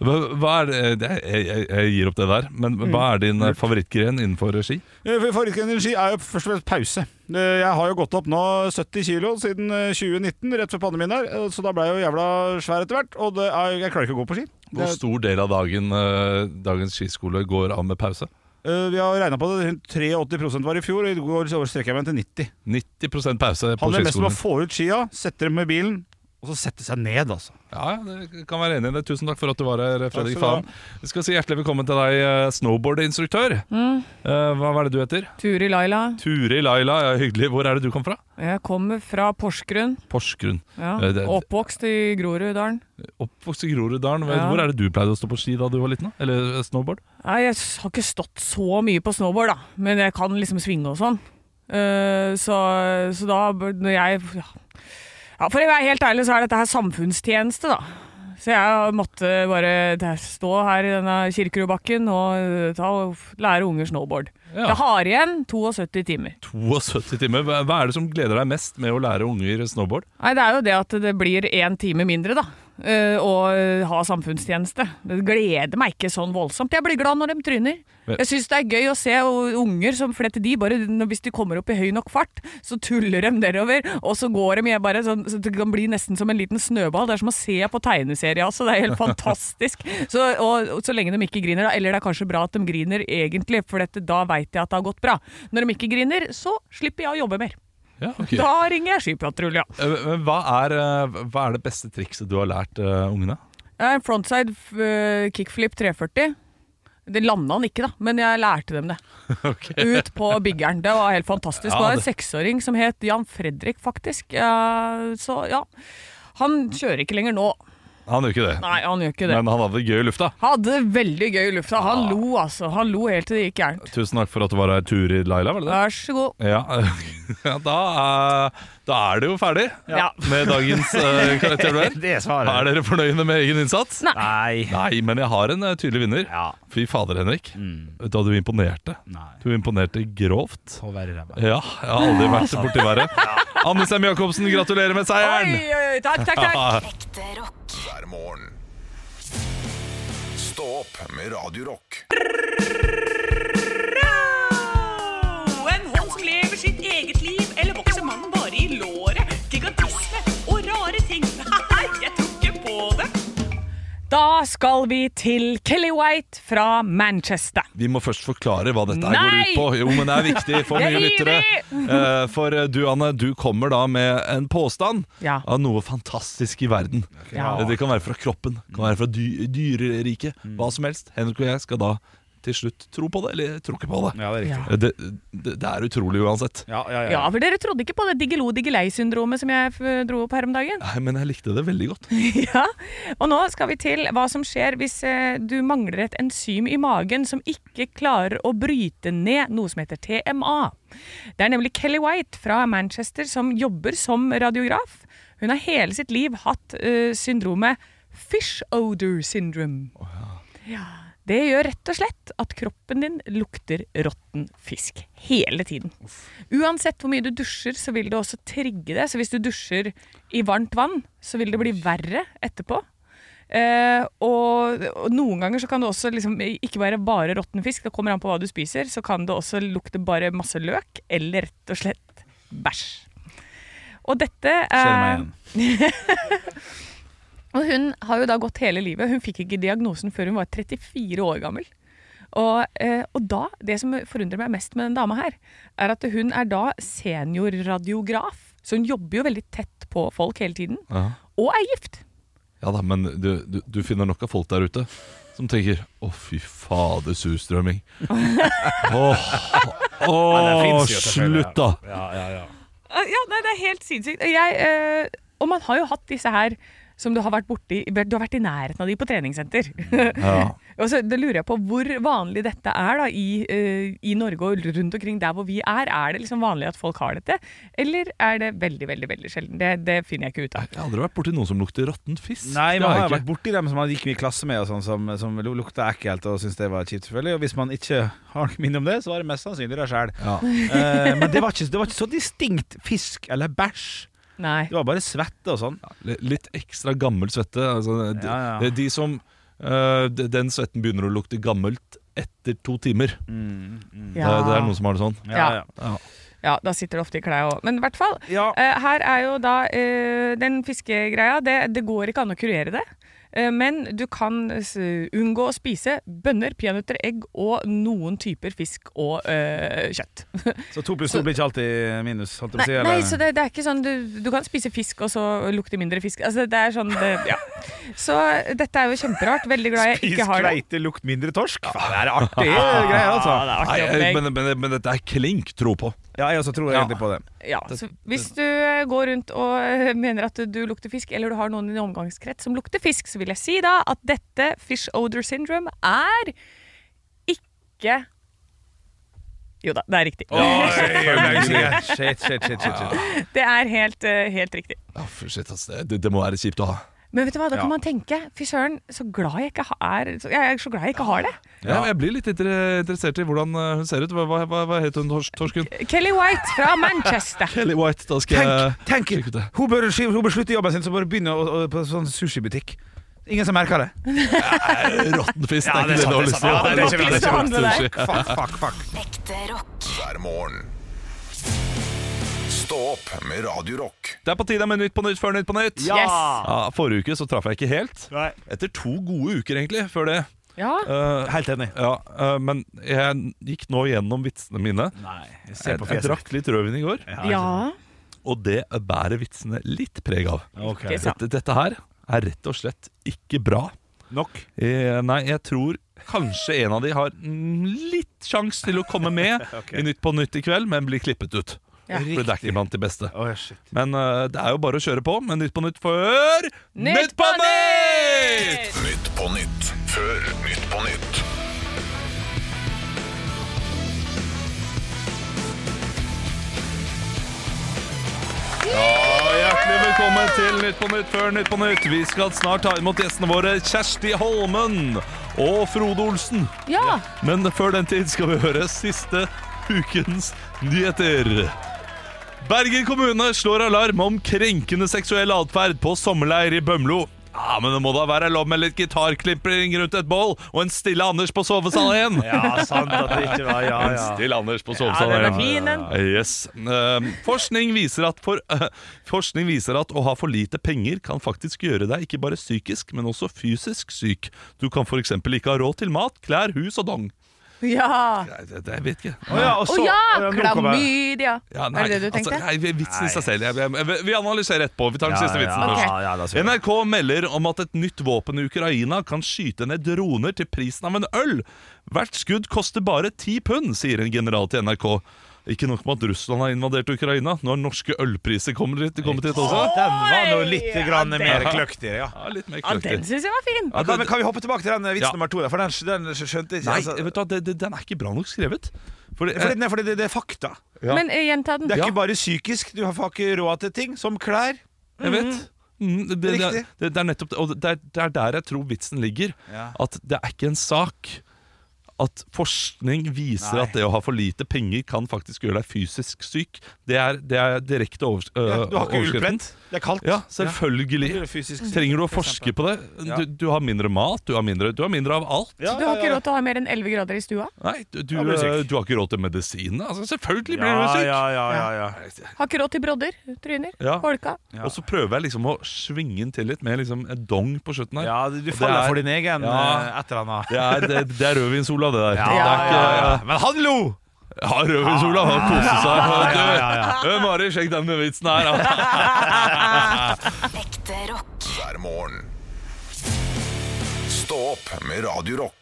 [SPEAKER 4] Hva, hva er det, det jeg, jeg, jeg gir opp det der, men
[SPEAKER 10] Mm.
[SPEAKER 4] hva er din eh, favorittgren innenfor ski?
[SPEAKER 10] Eh, for- Favorittgren i ski er jo først og fremst pause. Eh, Jeg har jo gått opp nå 70 kilo siden eh, 2019, rett før pandemien der, eh, så da ble jeg jo jævla svær etter hvert. Og det er, jeg klarer ikke å gå på ski. Det,
[SPEAKER 4] Hvor stor del av dagen eh, dagens skiskole går av med pause?
[SPEAKER 10] eh, vi har regna på det, rundt 83 var i fjor, og i går så strekker jeg meg til 90.
[SPEAKER 4] 90 pause på
[SPEAKER 10] Han er mest med å
[SPEAKER 4] skiskolen.
[SPEAKER 10] få ut skia, sette dem med bilen, og så sette seg ned, altså.
[SPEAKER 4] Ja, ja, det kan være enig i det. Tusen takk for at du var her, Fredrik
[SPEAKER 10] skal du ha.
[SPEAKER 4] Faen. Vi skal si hjertelig velkommen til deg, eh, snowboardinstruktør.
[SPEAKER 10] Mm.
[SPEAKER 4] Eh, hva hva er det du heter?
[SPEAKER 3] Turi Laila,
[SPEAKER 4] Turi Laila, ja, hyggelig. Hvor er det du kom fra?
[SPEAKER 3] jeg kommer fra Porsgrunn.
[SPEAKER 4] Porsgrunn.
[SPEAKER 3] Ja.
[SPEAKER 4] Eh, det-
[SPEAKER 3] Oppvokst i Groruddalen.
[SPEAKER 4] Oppvokst i Groruddalen. Hva-
[SPEAKER 3] Ja.
[SPEAKER 4] Hvor er det du pleide å stå på ski da du var liten? da? Eller eh, snowboard?
[SPEAKER 3] Nei, jeg s- har ikke stått så mye på snowboard, da. Men jeg kan liksom svinge og sånn. Eh, så, så da bør- når jeg ja. ja, for å være helt ærlig, så er dette her samfunnstjeneste, da. Så jeg måtte bare det- stå her i denne Kirkerudbakken og eh, ta, og f- lære unger snowboard.
[SPEAKER 4] Ja.
[SPEAKER 3] Jeg har igjen 72 timer.
[SPEAKER 4] 72 timer. Hva hva er det som gleder deg mest med å lære unger snowboard?
[SPEAKER 3] Nei, det er jo det at det blir én time mindre, da. eh, Å ha samfunnstjeneste. Det gleder meg ikke sånn voldsomt. Jeg blir glad når de tryner.
[SPEAKER 4] Men-
[SPEAKER 3] Jeg syns det er gøy å se o- unger som fletter de bare når- Hvis de kommer opp i høy nok fart, så tuller de nedover, og så går de jeg bare sånn så Det kan bli nesten som en liten snøball. Det er som å se på tegneserie, altså. Det er helt fantastisk. Så, og, og så lenge de ikke griner, da. Eller det er kanskje bra at de griner egentlig, for dette, da veit jeg at det har gått bra. Når de ikke griner, så slipper jeg å jobbe mer.
[SPEAKER 4] Ja, ok.
[SPEAKER 3] Da ringer jeg Skipatrulja.
[SPEAKER 4] Eh, men Hva er, eh, hva er det beste trikset du har lært eh, ungene?
[SPEAKER 3] Ja, en frontside eh, kickflip 340. Det landa han ikke, da, men jeg lærte dem det. Ut på biggeren. Det var helt fantastisk.
[SPEAKER 4] Ja,
[SPEAKER 3] det var en
[SPEAKER 4] det-
[SPEAKER 3] seksåring som het Jan Fredrik, faktisk. Eh, så ja. Han kjører ikke lenger nå.
[SPEAKER 4] Han gjør ikke det,
[SPEAKER 3] Nei, han gjør ikke det.
[SPEAKER 4] men han hadde det gøy i lufta.
[SPEAKER 3] Hadde veldig gøy i lufta. Han lo, altså. Han lo helt til det gikk gærent.
[SPEAKER 4] Tusen takk for at du var her, Turi Laila. var det det?
[SPEAKER 3] Vær så god.
[SPEAKER 4] Ja, ja da, er- da er det jo ferdig
[SPEAKER 3] Ja.
[SPEAKER 4] med dagens eh, karakterduell.
[SPEAKER 2] Det
[SPEAKER 4] Er
[SPEAKER 2] svaret.
[SPEAKER 4] dere fornøyde med egen innsats?
[SPEAKER 3] Nei.
[SPEAKER 2] Nei.
[SPEAKER 4] Nei, men jeg har en eh, tydelig vinner.
[SPEAKER 2] Ja. Mm.
[SPEAKER 4] Fy fader, Henrik. Da du imponerte.
[SPEAKER 2] Nei.
[SPEAKER 4] Du imponerte grovt.
[SPEAKER 2] Så verre ræva.
[SPEAKER 4] Ja, jeg har aldri vært borti verre. Anne Sem Jacobsen, gratulerer med
[SPEAKER 3] Oi,
[SPEAKER 4] seieren!
[SPEAKER 3] oi, oi. Takk, takk, takk.
[SPEAKER 5] Ekte rock.
[SPEAKER 1] hver morgen. Stå opp med Radio Rock.
[SPEAKER 3] En håndsk lever sitt eget liv, eller vokser mannen bare i låret? Gigantisme og rare ting. Nei, jeg tror ikke på det. Da skal vi til Kelly White fra Manchester.
[SPEAKER 4] Vi må først forklare hva dette her går
[SPEAKER 3] Nei!
[SPEAKER 4] ut på. Jo, men det er viktig for
[SPEAKER 3] Jeg
[SPEAKER 4] nye
[SPEAKER 3] er
[SPEAKER 4] lyttere. Eh, For eh, du, Anne, du kommer da med en påstand
[SPEAKER 3] Ja.
[SPEAKER 4] av noe fantastisk i verden.
[SPEAKER 3] Ja.
[SPEAKER 2] Mm.
[SPEAKER 4] Eh, Det kan være fra kroppen, det kan være fra dy dyreriket, hva som helst. Henrik og jeg skal da til slutt tro på det, eller tro ikke på det.
[SPEAKER 10] Ja, det er riktig.
[SPEAKER 3] Ja.
[SPEAKER 4] Det, det, det er utrolig uansett.
[SPEAKER 10] Ja, ja, ja.
[SPEAKER 3] Ja, for dere trodde ikke på det diggelo-diggelei-syndromet som jeg eh, dro opp her om dagen.
[SPEAKER 4] Nei, men jeg likte det veldig godt.
[SPEAKER 3] Ja, og nå skal vi til hva som skjer hvis eh, du mangler et enzym i magen som ikke klarer å bryte ned noe som heter TMA. Det er nemlig Kelly White fra Manchester som jobber som radiograf. Hun har hele sitt liv hatt eh, syndromet fish odor syndrome. Ja, det gjør rett og slett at kroppen din lukter råtten fisk hele tiden. Uansett hvor mye du dusjer, så vil det også trigge det. Så hvis du dusjer i varmt vann, så vil det bli verre etterpå. Eh, og, og noen ganger så kan det også liksom, ikke være bare råtten fisk, det kommer an på hva du spiser, så kan det også lukte bare masse løk, eller rett og slett bæsj. Og dette
[SPEAKER 2] Kjenner meg
[SPEAKER 3] eh,
[SPEAKER 2] igjen.
[SPEAKER 3] og hun har jo da gått hele livet. Hun fikk ikke diagnosen før hun var 34 år gammel. Og, eh, og da, det som forundrer meg mest med den dama her, er at hun er da seniorradiograf. Så hun jobber jo veldig tett på folk hele tiden.
[SPEAKER 4] Ja.
[SPEAKER 3] Og er gift.
[SPEAKER 4] Ja da, men du, du, du finner nok av folk der ute som tenker Å, fy fader, surstrømming. Åh,
[SPEAKER 10] det
[SPEAKER 4] åh,
[SPEAKER 10] finnes jo selvfølgelig,
[SPEAKER 4] slutt, da!
[SPEAKER 10] Ja, ja, ja.
[SPEAKER 3] Eh, Ja, nei, det er helt sinnssykt. Og Jeg, eh, og man har jo hatt disse her som du har vært borti Du har vært i nærheten av de på treningssenter.
[SPEAKER 4] Mm, Ja.
[SPEAKER 3] Og så da lurer jeg på hvor vanlig dette er da i, eh, i Norge og rundt omkring der hvor vi er. Er det liksom vanlig at folk har dette, eller er det veldig veldig, veldig sjelden? Det, det finner jeg ikke ut av.
[SPEAKER 4] Jeg har aldri vært borti noen som lukter råtten fisk.
[SPEAKER 2] Nei,
[SPEAKER 4] Det
[SPEAKER 2] man har
[SPEAKER 4] har
[SPEAKER 2] jo
[SPEAKER 4] jeg
[SPEAKER 2] vært
[SPEAKER 4] ikke.
[SPEAKER 2] borti dem som man gikk mye i klasse med, og sånn, som, som lu- lukta ekkelt og syntes det var kjipt. selvfølgelig Og hvis man ikke har noe minne om det, så var det mest sannsynlig det sjøl.
[SPEAKER 4] Ja.
[SPEAKER 2] Eh, men det var, ikke, det var ikke så distinkt fisk eller bæsj.
[SPEAKER 3] Nei.
[SPEAKER 2] Det var bare svette og sånn.
[SPEAKER 4] Li- Litt ekstra gammel svette. Altså, de,
[SPEAKER 2] Ja, ja.
[SPEAKER 4] de som eh, de- Den svetten begynner å lukte gammelt etter to timer. Det,
[SPEAKER 3] Ja.
[SPEAKER 4] det er noen som har det sånn.
[SPEAKER 3] Ja.
[SPEAKER 2] ja.
[SPEAKER 4] Ja.
[SPEAKER 3] Ja, da sitter det ofte i klær òg. Men i hvert fall.
[SPEAKER 2] Ja.
[SPEAKER 3] eh, her er jo da eh, den fiskegreia. Det, det går ikke an å kurere det. Eh, men du kan s- unngå å spise bønner, peanøtter, egg og noen typer fisk og eh, kjøtt.
[SPEAKER 2] Så to pluss to blir ikke alltid minus. Holdt jeg på å si,
[SPEAKER 3] Nei,
[SPEAKER 2] eller?
[SPEAKER 3] nei, så det, det er ikke sånn du, du kan spise fisk og så lukte mindre fisk. Altså, det er sånn det, ja. Så dette er jo kjemperart. Veldig glad jeg ikke har det.
[SPEAKER 2] kveite, lukt mindre torsk. Faen, det er artige greier, altså.
[SPEAKER 4] Nei,
[SPEAKER 3] artig
[SPEAKER 4] jeg-
[SPEAKER 3] opplegg.
[SPEAKER 4] men, men, men dette er klink tro på.
[SPEAKER 2] Ja, jeg også tror
[SPEAKER 4] Ja.
[SPEAKER 2] egentlig på det.
[SPEAKER 3] Ja, så hvis du eh, går rundt og eh, mener at du lukter fisk, eller du har noen i din omgangskrets som lukter fisk, så vil jeg si da at dette fish odor syndrome er ikke Jo da, det er riktig.
[SPEAKER 2] Shit, shit, shit, shit, shit.
[SPEAKER 3] Det er helt, eh, helt riktig.
[SPEAKER 4] Ja, for shit, ass, det, det, det må være kjipt å ha.
[SPEAKER 3] Men vet du hva, da
[SPEAKER 2] Ja.
[SPEAKER 3] kan man tenke Fy søren, så glad jeg ikke ha- er så- Jeg er så glad jeg ikke har det.
[SPEAKER 4] Ja. men jeg blir litt inter- interessert i hvordan eh, hun ser ut. Hva, hva, hva- hva het hun, tors torsken?
[SPEAKER 3] Kelly White fra Manchester.
[SPEAKER 4] Kelly White, da skal jeg
[SPEAKER 2] Tenk, tenk
[SPEAKER 4] sjekke ut det.
[SPEAKER 2] hun, bør, sk- hun bør slutte jobben sin, så bør hun begynne å, å, på sånn sushibutikk. Ingen som merker det.
[SPEAKER 4] Råtten fisk, det er ikke det du har lyst til.
[SPEAKER 2] Ja, det er
[SPEAKER 4] Nei,
[SPEAKER 2] sant, det er
[SPEAKER 4] råtten
[SPEAKER 3] sant.
[SPEAKER 4] sushi.
[SPEAKER 2] Fuck, fuck, fuck.
[SPEAKER 5] Ekte rock.
[SPEAKER 1] hver morgen. Stå opp med Radio Rock.
[SPEAKER 4] Det er på tide med Nytt på Nytt før Nytt på Nytt.
[SPEAKER 3] Yes.
[SPEAKER 4] Ja, forrige uke så traff jeg ikke helt. Etter to gode uker, egentlig, før det.
[SPEAKER 3] Ja.
[SPEAKER 4] Eh,
[SPEAKER 2] Helt enig.
[SPEAKER 4] ja, eh, men jeg gikk nå gjennom vitsene mine.
[SPEAKER 2] Nei, jeg
[SPEAKER 4] Jeg, jeg drakk litt rødvin i går,
[SPEAKER 3] ja.
[SPEAKER 4] og det bærer vitsene litt preg av.
[SPEAKER 2] Ok.
[SPEAKER 3] Ikke sant.
[SPEAKER 4] Dette, dette her er rett og slett ikke bra.
[SPEAKER 2] Nok.
[SPEAKER 4] Eh, nei, jeg tror kanskje en av de har mm, litt sjans til å komme med i Nytt på Nytt i kveld, men blir klippet ut.
[SPEAKER 3] Ja.
[SPEAKER 4] For det er ikke blant de beste.
[SPEAKER 2] Å, shit.
[SPEAKER 4] Men eh, det er jo bare å kjøre på med Nytt på Nytt før
[SPEAKER 3] Nytt på
[SPEAKER 4] Nytt!
[SPEAKER 1] Nytt på nytt før Nytt på nytt.
[SPEAKER 4] Og Hjertelig velkommen til Nytt på Nytt før Nytt på Nytt. Vi skal snart ta imot gjestene våre Kjersti Holmen og Frode Olsen.
[SPEAKER 3] ja.
[SPEAKER 4] Men før den tid skal vi høre siste ukens nyheter. Bergen kommune slår alarm om krenkende seksuell atferd på sommerleir i Bømlo. Ja, men det må da være lov med litt gitarklimpring rundt et bål og en stille Anders på sovesalen igjen.
[SPEAKER 2] Ja, sant at det ikke var Ja,
[SPEAKER 4] En stille Anders på
[SPEAKER 3] ja,
[SPEAKER 4] sovesalen
[SPEAKER 3] den er
[SPEAKER 4] igjen.
[SPEAKER 3] fin, den.
[SPEAKER 4] Yes. Ehm, forskning, viser at for, eh, forskning viser at å ha for lite penger kan faktisk gjøre deg ikke bare psykisk, men også fysisk syk. Du kan f.eks. ikke ha råd til mat, klær, hus og dong.
[SPEAKER 3] Ja!
[SPEAKER 4] Nei, det, det, jeg vet ikke.
[SPEAKER 2] Å ja, og
[SPEAKER 3] Å
[SPEAKER 2] så-
[SPEAKER 3] ja!
[SPEAKER 2] eh, nå kommer jeg.
[SPEAKER 3] Klamydia.
[SPEAKER 4] Ja, nei,
[SPEAKER 3] Er det det du tenkte?
[SPEAKER 4] Altså, nei, vitsen i seg selv. Jeg, jeg, jeg, vi analyserer etterpå. Vi tar den
[SPEAKER 2] Ja,
[SPEAKER 4] siste vitsen
[SPEAKER 2] ja,
[SPEAKER 4] først.
[SPEAKER 2] ja, ja, la oss gjøre det.
[SPEAKER 4] NRK melder om at et nytt våpen i Ukraina kan skyte ned droner til prisen av en øl. Hvert skudd koster bare ti pund, sier en general til NRK. Ikke nok med at Russland har invadert Ukraina, nå har norske ølpriser kommet hit, kommet hit også.
[SPEAKER 2] Den var nå litt
[SPEAKER 3] Oi!
[SPEAKER 2] grann
[SPEAKER 3] Ja,
[SPEAKER 2] mer
[SPEAKER 4] den-
[SPEAKER 2] kløktigere, ja.
[SPEAKER 4] Ja, litt mer
[SPEAKER 3] Ja, den
[SPEAKER 4] kløktig.
[SPEAKER 3] syns jeg var fin.
[SPEAKER 4] Ja,
[SPEAKER 2] Kan,
[SPEAKER 4] det-
[SPEAKER 2] kan vi hoppe tilbake til den vits
[SPEAKER 4] Ja.
[SPEAKER 2] nummer to? Der? For den, den skjønte jeg ikke.
[SPEAKER 4] Nei,
[SPEAKER 2] altså.
[SPEAKER 4] vet du, hva, det, det, den er ikke bra nok skrevet. Fordi,
[SPEAKER 2] Fordi, nei, fordi det, det er fakta.
[SPEAKER 4] Ja.
[SPEAKER 3] Men eh, gjenta den.
[SPEAKER 2] Det er ikke bare psykisk. Du har får ikke råd til ting, som klær.
[SPEAKER 4] Jeg vet. Mm, det, det,
[SPEAKER 2] Mm-hmm. Riktig.
[SPEAKER 4] det, det er nettopp det. Og det er, det er der jeg tror vitsen ligger.
[SPEAKER 2] Ja.
[SPEAKER 4] At det er ikke en sak. At forskning viser
[SPEAKER 2] Nei.
[SPEAKER 4] at det å ha for lite penger kan faktisk gjøre deg fysisk syk. Det er, det er direkte overs øh,
[SPEAKER 2] Ja, du har ikke
[SPEAKER 4] overskriften.
[SPEAKER 2] ullpledd. Det er kaldt.
[SPEAKER 4] Ja,
[SPEAKER 2] Det
[SPEAKER 4] selvfølgelig.
[SPEAKER 2] er fysisk sykt,
[SPEAKER 4] Trenger du å
[SPEAKER 2] for
[SPEAKER 4] forske
[SPEAKER 2] eksempel.
[SPEAKER 4] på det?
[SPEAKER 2] Ja.
[SPEAKER 4] Du, du har mindre mat, du har mindre, du har mindre av alt.
[SPEAKER 2] Ja,
[SPEAKER 3] Du har
[SPEAKER 2] ja,
[SPEAKER 3] ikke
[SPEAKER 2] ja.
[SPEAKER 3] råd til å ha mer enn 11 grader i stua.
[SPEAKER 4] Nei, du, du,
[SPEAKER 2] Da blir du syk.
[SPEAKER 4] øh, du har ikke råd til medisin. Altså, selvfølgelig blir du
[SPEAKER 2] Ja,
[SPEAKER 4] syk.
[SPEAKER 2] ja, ja, ja, ja.
[SPEAKER 3] Har ikke råd til brodder, tryner,
[SPEAKER 4] Ja.
[SPEAKER 3] holka.
[SPEAKER 2] Ja.
[SPEAKER 4] Og så prøver jeg liksom å svinge den til litt med liksom en dong på slutten her.
[SPEAKER 2] Ja, du du
[SPEAKER 4] Og det
[SPEAKER 2] faller
[SPEAKER 4] er-
[SPEAKER 2] for din egen
[SPEAKER 4] Ja.
[SPEAKER 2] eh, et eller annet.
[SPEAKER 4] Det er, det, det er rødvinsola, det der.
[SPEAKER 2] Ja,
[SPEAKER 4] det er ikke,
[SPEAKER 2] ja, ja. Men han lo!
[SPEAKER 4] Ja, rødvinsola, han koser seg.
[SPEAKER 2] Ja, ja, ja, ja.
[SPEAKER 4] Du, øh, Mari, sjekk denne vitsen her. da.
[SPEAKER 11] Ekte rock.
[SPEAKER 1] hver morgen. Stå opp med Radio Rock.